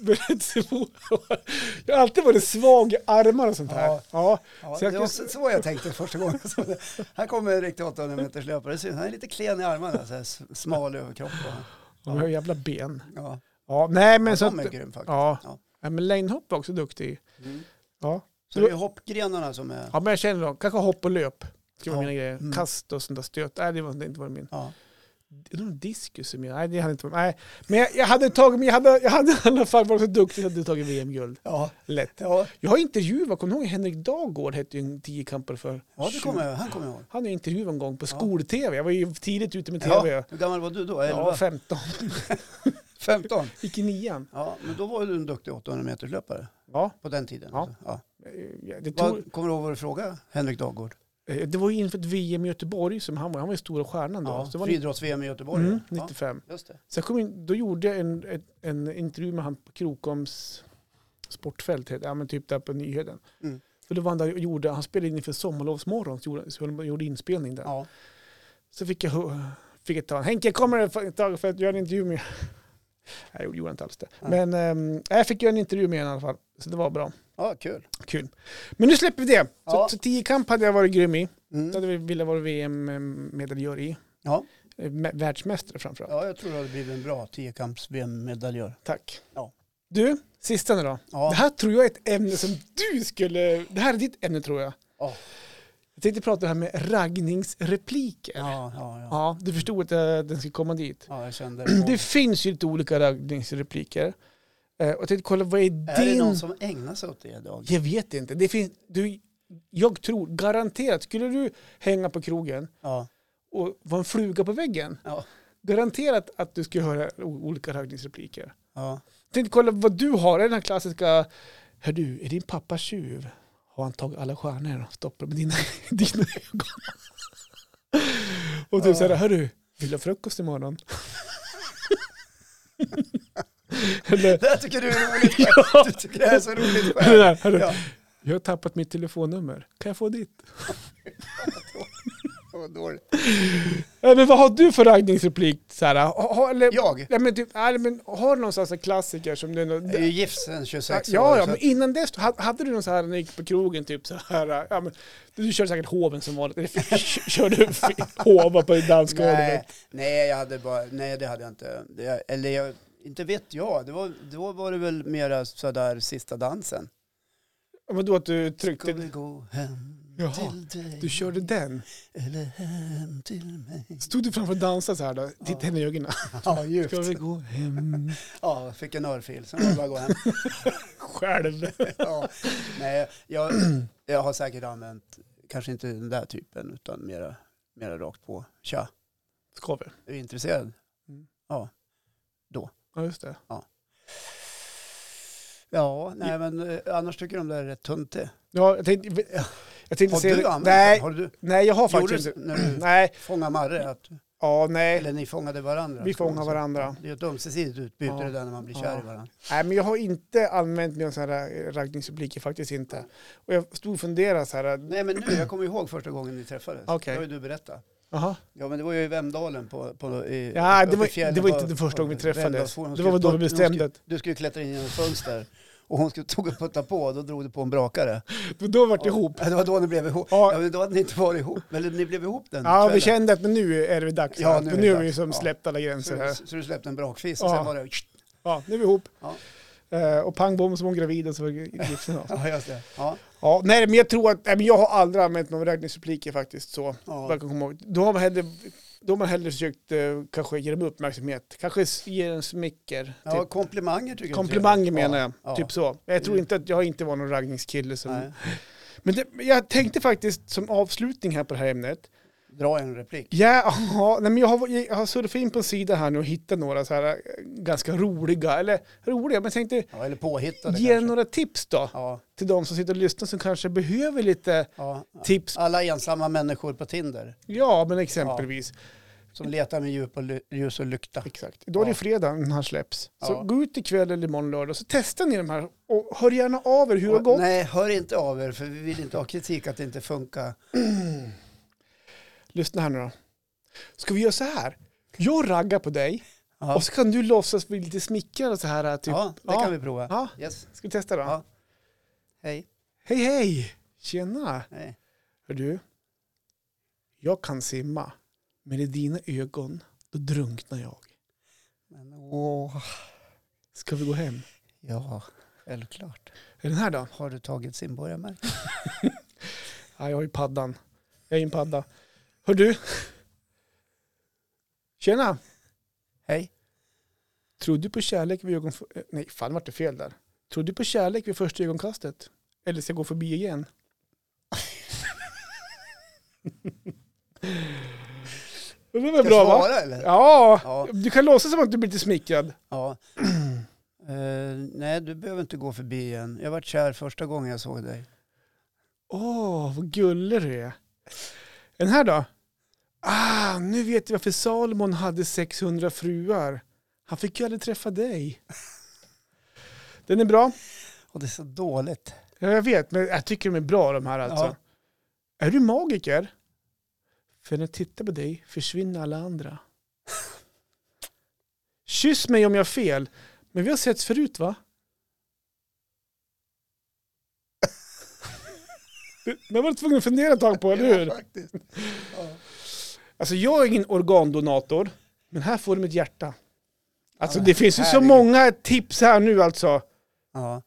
B: jag har alltid varit svag i armar och sånt här.
A: Ja.
B: Ja,
A: Ja,
B: Så
A: det
B: jag
A: var
B: kan-
A: så så jag tänkte första gången. jag såg det. Här kommer en riktig 800 meters löpare. Syns, Han är lite klen i armarna, så här, s- smal överkropp. och-
B: och jag har jävla ben.
A: Ja,
B: Ja, nej men
A: men
B: så
A: ja, de
B: att,
A: är grym faktiskt.
B: ja.
A: Ja.
B: ja, men längdhopp var också duktig.
A: Mm.
B: Ja.
A: Så det är hoppgrenarna som är...
B: Ja, men jag känner då, kanske hopp och löp. Ska vara
A: Ja.
B: mina grejer.
A: Mm.
B: Kast och sånt där stöt. Nej, det var det inte var min.
A: Ja.
B: Det var diskus i min. Nej, det hade inte varit. Nej, men jag, jag hade tagit, men jag hade, jag hade i alla fall varit så duktig så att du tagit VM-guld.
A: Ja.
B: Lätt.
A: Ja.
B: Jag har intervjuat, kommer du ihåg Henrik Dagård hette ju en tiokampare för.
A: ja, det kommer jag, han kommer jag ihåg.
B: Han är intervjuad en gång på
A: Ja.
B: skol-tv. Jag var ju tidigt ute med tv.
A: Ja,
B: Ja.
A: hur gammal var du då?
B: Ja,
A: 11?
B: 15.
A: 15?
B: Gick i nian.
A: Ja, men då var du en duktig 800 meters löpare
B: Ja,
A: på den tiden.
B: Ja.
A: alltså. Ja.
B: ja, det, tog,
A: Vad, kommer du ihåg vad du frågade Henrik Dagård?
B: eh, det var ju inför ett VM i Göteborg som han var. Han var ju stora stjärnan då.
A: Ja,
B: Så det var
A: Friidrotts-VM i Göteborg.
B: mm,
A: ja.
B: 95.
A: Just det.
B: Sen kom in, då gjorde jag en, en, en intervju med han på Krokoms sportfält, heter det. ja, men typ där på nyheten.
A: Mm.
B: Så då var han där och gjorde, han spelade in inför sommarlovsmorgon, så gjorde, så de gjorde inspelning där.
A: Ja.
B: Så fick jag, hö- fick jag ta Henke kommer ett tag för att göra en intervju med. Nej, det gjorde jag inte alls det.
A: Nej.
B: Men ehm, jag fick göra en intervju med honom i alla fall, så det var bra.
A: ja, kul.
B: Kul. Men nu släpper vi det.
A: Ja.
B: Så, så tiokamp hade jag varit grym i. Då
A: Mm.
B: hade vi velat vara VM-medaljör i.
A: Ja.
B: Eh, mä- Världsmästare framförallt.
A: Ja, jag tror det hade blivit en bra tiokamps-VM-medaljör.
B: Tack.
A: Ja.
B: Du, sista nu då. Det
A: Ja.
B: här tror jag är ett ämne som du skulle... Det här är ditt ämne tror jag.
A: Ja.
B: Jag tänkte prata det här med raggningsrepliker. Ja.
A: Ja, ja, ja.
B: du förstod att eh, den skulle komma dit.
A: ja, jag kände
B: Det
A: det.
B: finns ju lite olika raggningsrepliker. Eh, och jag tänkte kolla, vad är din...
A: Är det någon som ägnar sig åt det idag?
B: Jag vet inte. Det finns... Du, jag tror garanterat, skulle du hänga på krogen
A: Ja,
B: och vara en fluga på väggen,
A: ja,
B: garanterat att du skulle höra o- olika raggningsrepliker.
A: ja.
B: tänkte kolla vad du har, Är det den här klassiska Hör du, är din pappa tjuv? Har han tagit alla stjärnor och stoppat med dina, dina ögon? Och typ så här, hör du, vill du ha frukost imorgon? Eller,
A: Det här tycker du är roligt själv. Du tycker det här är så roligt
B: eller
A: själv.
B: där, hör du,
A: Ja.
B: jag har tappat mitt telefonnummer, kan jag få ditt?
A: Vad dåligt.
B: Äh, men vad har du för raggningsreplik? Så här, ha, ha, eller,
A: Jag
B: Nej, men typ, nej, men har du någon sån här klassiker som du...
A: är ju gift sedan 26
B: Ja,
A: år.
B: ja,
A: så
B: men innan dess, ha- hade du någon så här när du gick på krogen, typ så här, ja, men, du körde säkert hoven som vanligt, eller körde hova på dansgolvet.
A: nej, nej, jag hade bara, nej, det hade jag inte. Det, eller jag, inte vet jag. Det var, då var det väl mera sådär sista dansen.
B: Ja, Men då att du
A: Ska vi
B: tryckte,
A: gå hem
B: Jaha,
A: till dig?
B: du körde den.
A: Eller hem till mig.
B: Stod du framför och dansade så här då, tittade henne i ögonen.
A: Ja, djupt.
B: Ska vi gå hem
A: Ja, jag fick en örfil. Sen var det bara att gå hem.
B: själv?
A: ja. Nej, jag, jag har säkert använt, kanske inte den där typen, utan mera, mera rakt på. Tja,
B: Ska vi?
A: är du intresserad?
B: Mm.
A: Ja.
B: Ja, just det.
A: Ja, nej men eh, annars tycker de där är rätt tunt det.
B: Ja, jag tänkte, jag tänkte
A: Har
B: se...
A: du använt
B: nej,
A: den? Har du,
B: nej, jag har
A: gjorde
B: faktiskt
A: du
B: inte.
A: när du
B: Nej,
A: fångade Marre? Att,
B: ja, nej.
A: eller ni fångade varandra?
B: Vi
A: ska man
B: fångar
A: säga.
B: varandra.
A: Det är ett ömsesidigt utbyte
B: Ja.
A: det där när man blir
B: Ja.
A: kär i varandra.
B: Nej, men jag har inte använt mig av sådana här raggningsrepliker, faktiskt inte. Och jag stod och funderade så här, äh,
A: Nej men nu, jag kommer ihåg första gången ni träffades.
B: Okej.
A: Det har ju du berättat.
B: jaha.
A: Ja men det var ju i Vemdalen på, på i,
B: Ja, det
A: uppe i
B: var,
A: fjällen
B: det var
A: på-
B: inte den första gången vi
A: på Vemdalsfåran.
B: träffades.
A: Hon
B: Det
A: skulle
B: var då
A: put-
B: vi
A: hon skulle-
B: bestämde att,
A: Du skulle klättra in genom ett fönster och hon skulle, tog och puttade på och då drog du på en brakare.
B: för då vart det ihop.
A: Ja, det var då ni blev ihop.
B: Ja.
A: Ja, men då hade ni inte varit ihop. Eller ni blev ihop den
B: Ja, vi
A: kvällen.
B: kände att men nu är det dags.
A: Ja,
B: Ja,
A: nu
B: nu,
A: är det
B: nu har
A: dags.
B: vi som
A: Ja.
B: släppt alla
A: Så
B: gränser
A: du,
B: här.
A: så du släppte en brakfis och
B: Ja.
A: sen var det...
B: Ja, nu är vi ihop.
A: Ja.
B: Eh, Och pang bom så var hon gravid och så var det gipsen av.
A: Ja, just det. Ja.
B: Ja, nej men jag tror att, nej, men jag har aldrig använt någon raggningsrepliker faktiskt så.
A: Ja.
B: Vad jag kan komma ihåg. Då har man hellre, då har man hellre försökt eh, kanske ge dem uppmärksamhet. Kanske s- ge en smicker.
A: ja,
B: typ.
A: komplimanger tycker jag.
B: Komplimanger menar jag.
A: ja.
B: Typ så. Jag tror
A: Mm.
B: inte att jag inte var någon raggningskille som...
A: Nej.
B: Men det, jag tänkte faktiskt som avslutning här på det här ämnet.
A: Dra en replik.
B: Ja, ja, nej, men jag, har, jag har surfat in på en sida här nu och hittat några så här eh, ganska roliga, eller roliga, men jag tänkte
A: Ja, eller påhittade
B: ge
A: kanske.
B: några tips då
A: Ja,
B: till de som sitter och lyssnar som kanske behöver lite
A: ja.
B: tips.
A: Alla ensamma människor på Tinder
B: Ja, men exempelvis.
A: som letar med djup och ly- ljus och lykta.
B: Exakt. Då är det
A: Ja.
B: fredag när han släpps. Så
A: Ja.
B: gå ut ikväll eller imorgon lördag så testar ni de här och hör gärna av er hur det har
A: Och-
B: gått.
A: Nej, hör inte av er för vi vill inte ha kritik att det inte funkar.
B: Lyssna här nu då. Ska vi göra så här? Jag raggar på dig
A: Ja,
B: och så kan du låtsas bli lite smickrad och så här. Typ.
A: ja det
B: Ja.
A: kan vi prova.
B: Ja.
A: Yes.
B: Ska vi testa då?
A: Ja. Hej.
B: Hej hej! Tjena!
A: Nej.
B: Hör du? Jag kan simma, men i dina ögon då drunknar jag.
A: Men åh,
B: Ska vi gå hem?
A: ja, självklart.
B: Är den här då?
A: Har du tagit simborgarmärket?
B: Ja, jag har ju paddan. Jag är ju en padda. Hör du? Tjena!
A: Hej.
B: eh,
A: Ska
B: bra
A: jag
B: va?
A: svara eller?
B: Ja,
A: Ja.
B: du kan låtsas som att du blir lite smickrad.
A: Ja. Eh, nej, du behöver inte gå förbi igen. Jag var kär första gången jag såg dig.
B: Åh, vad gullig du är. Den här då? Ah, nu vet jag varför Salomon hade 600 fruar. Han fick ju aldrig träffa dig. Den är bra.
A: Och det är så dåligt.
B: Ja, jag vet, men jag tycker de är bra de här alltså.
A: Ja.
B: Är du magiker? För när jag tittar på dig försvinner alla andra. Kyss mig om jag har fel, men vi har setts förut va? Det- Den var du tvungen att fundera ett tag på, eller hur?
A: faktiskt. Ja.
B: Alltså jag är ingen organdonator, men här får du mitt hjärta. Alltså
A: Ja,
B: det finns ju så
A: herregud.
B: många tips här nu alltså.
A: Ja.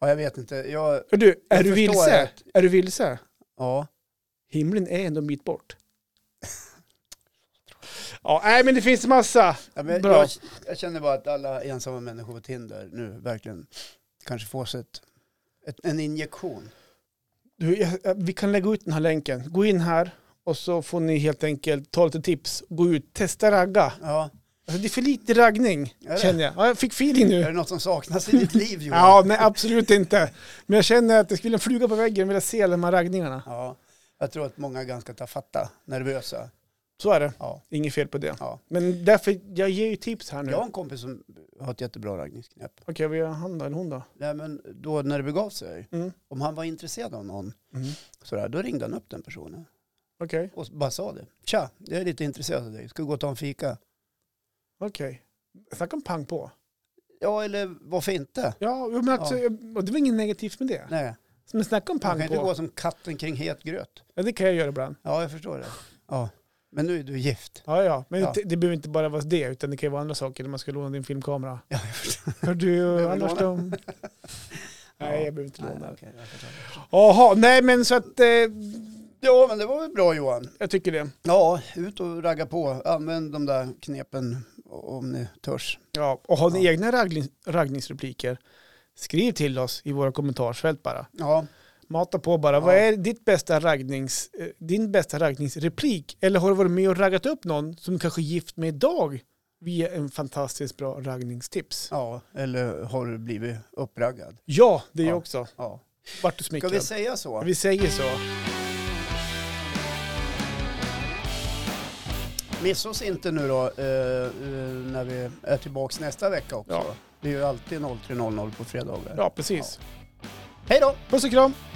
A: ja, jag vet inte. Jag,
B: Hör Du, är
A: Jag förstår
B: du vilse?
A: att-
B: Är du vilse?
A: ja.
B: Himlen är ändå en bit bort. Ja, nej men det finns massa.
A: Ja, men
B: Bra.
A: Jag, jag känner bara att alla ensamma människor på Tinder nu verkligen kanske får sig ett, ett, en injektion.
B: Du, jag- jag- vi kan lägga ut den här länken. Gå in här och så får ni helt enkelt ta lite tips. Gå ut, testa ragga.
A: Ja,
B: Alltså, det är för lite raggning,
A: Är det?
B: känner jag. Ja, jag fick feeling nu.
A: Är det något som saknas i ditt liv Johan?
B: Ja, nej absolut inte. Men jag känner att det skulle en fluga på väggen vilja se alla de här raggningarna.
A: ja. Jag tror att många är ganska tafatta, nervösa.
B: Så är det.
A: Ja.
B: Inget fel på det.
A: Ja.
B: Men därför, jag ger ju tips här nu.
A: Jag har en kompis som har ett jättebra raggningsknep.
B: Okej, vad gör han då? Eller hon då?
A: Nej, men då när det begav sig,
B: Mm.
A: om han var intresserad av någon,
B: Mm.
A: sådär, då ringde han upp den personen
B: Okej,
A: och bara sa det. Tja, jag är lite intresserad av dig, ska vi gå och ta en fika?
B: okej. Snacka om pang på.
A: Ja, eller varför inte?
B: Ja, jo, men alltså, och det var inget negativt med det.
A: Nej,
B: Men snacka om
A: man kan
B: pang
A: inte gå
B: på.
A: som katten kring het gröt.
B: Ja, det kan jag göra ibland.
A: Ja, jag förstår det. Ja. Men nu är du gift.
B: Ja, ja. Men
A: Ja.
B: Det, det behöver inte bara vara det, utan det kan ju vara andra saker. När man ska låna din filmkamera.
A: Ja, jag förstår.
B: Hör du,
A: Behöver
B: annars
A: låna?
B: då? Nej, jag behöver inte
A: Nej,
B: låna.
A: okej, jag förstår.
B: Jaha, nej men så att eh,
A: Ja, men det var väl bra Johan.
B: jag tycker det.
A: Ja, ut och ragga på. Använd de där knepen om ni törs.
B: Ja, och har ni
A: Ja.
B: egna raggling, raggningsrepliker, skriv till oss i våra kommentarsfält bara.
A: Ja,
B: Mata på bara.
A: Ja.
B: Vad är ditt bästa raggnings, eh, din bästa raggningsreplik? Eller har du varit med och raggat upp någon som du kanske är gift med idag via en fantastiskt bra raggningstips? Ja,
A: ja, eller har du blivit uppraggad?
B: det är
A: Ja.
B: jag också.
A: Ja.
B: Vart du
A: Ska
B: smickrad.
A: vi säga så?
B: vi säger så.
A: Missa oss inte nu då eh, eh, när vi är tillbaka nästa vecka också.
B: Ja.
A: Det är ju alltid 03.00 på fredagar.
B: Ja, precis.
A: Hej då!
B: Puss och kram!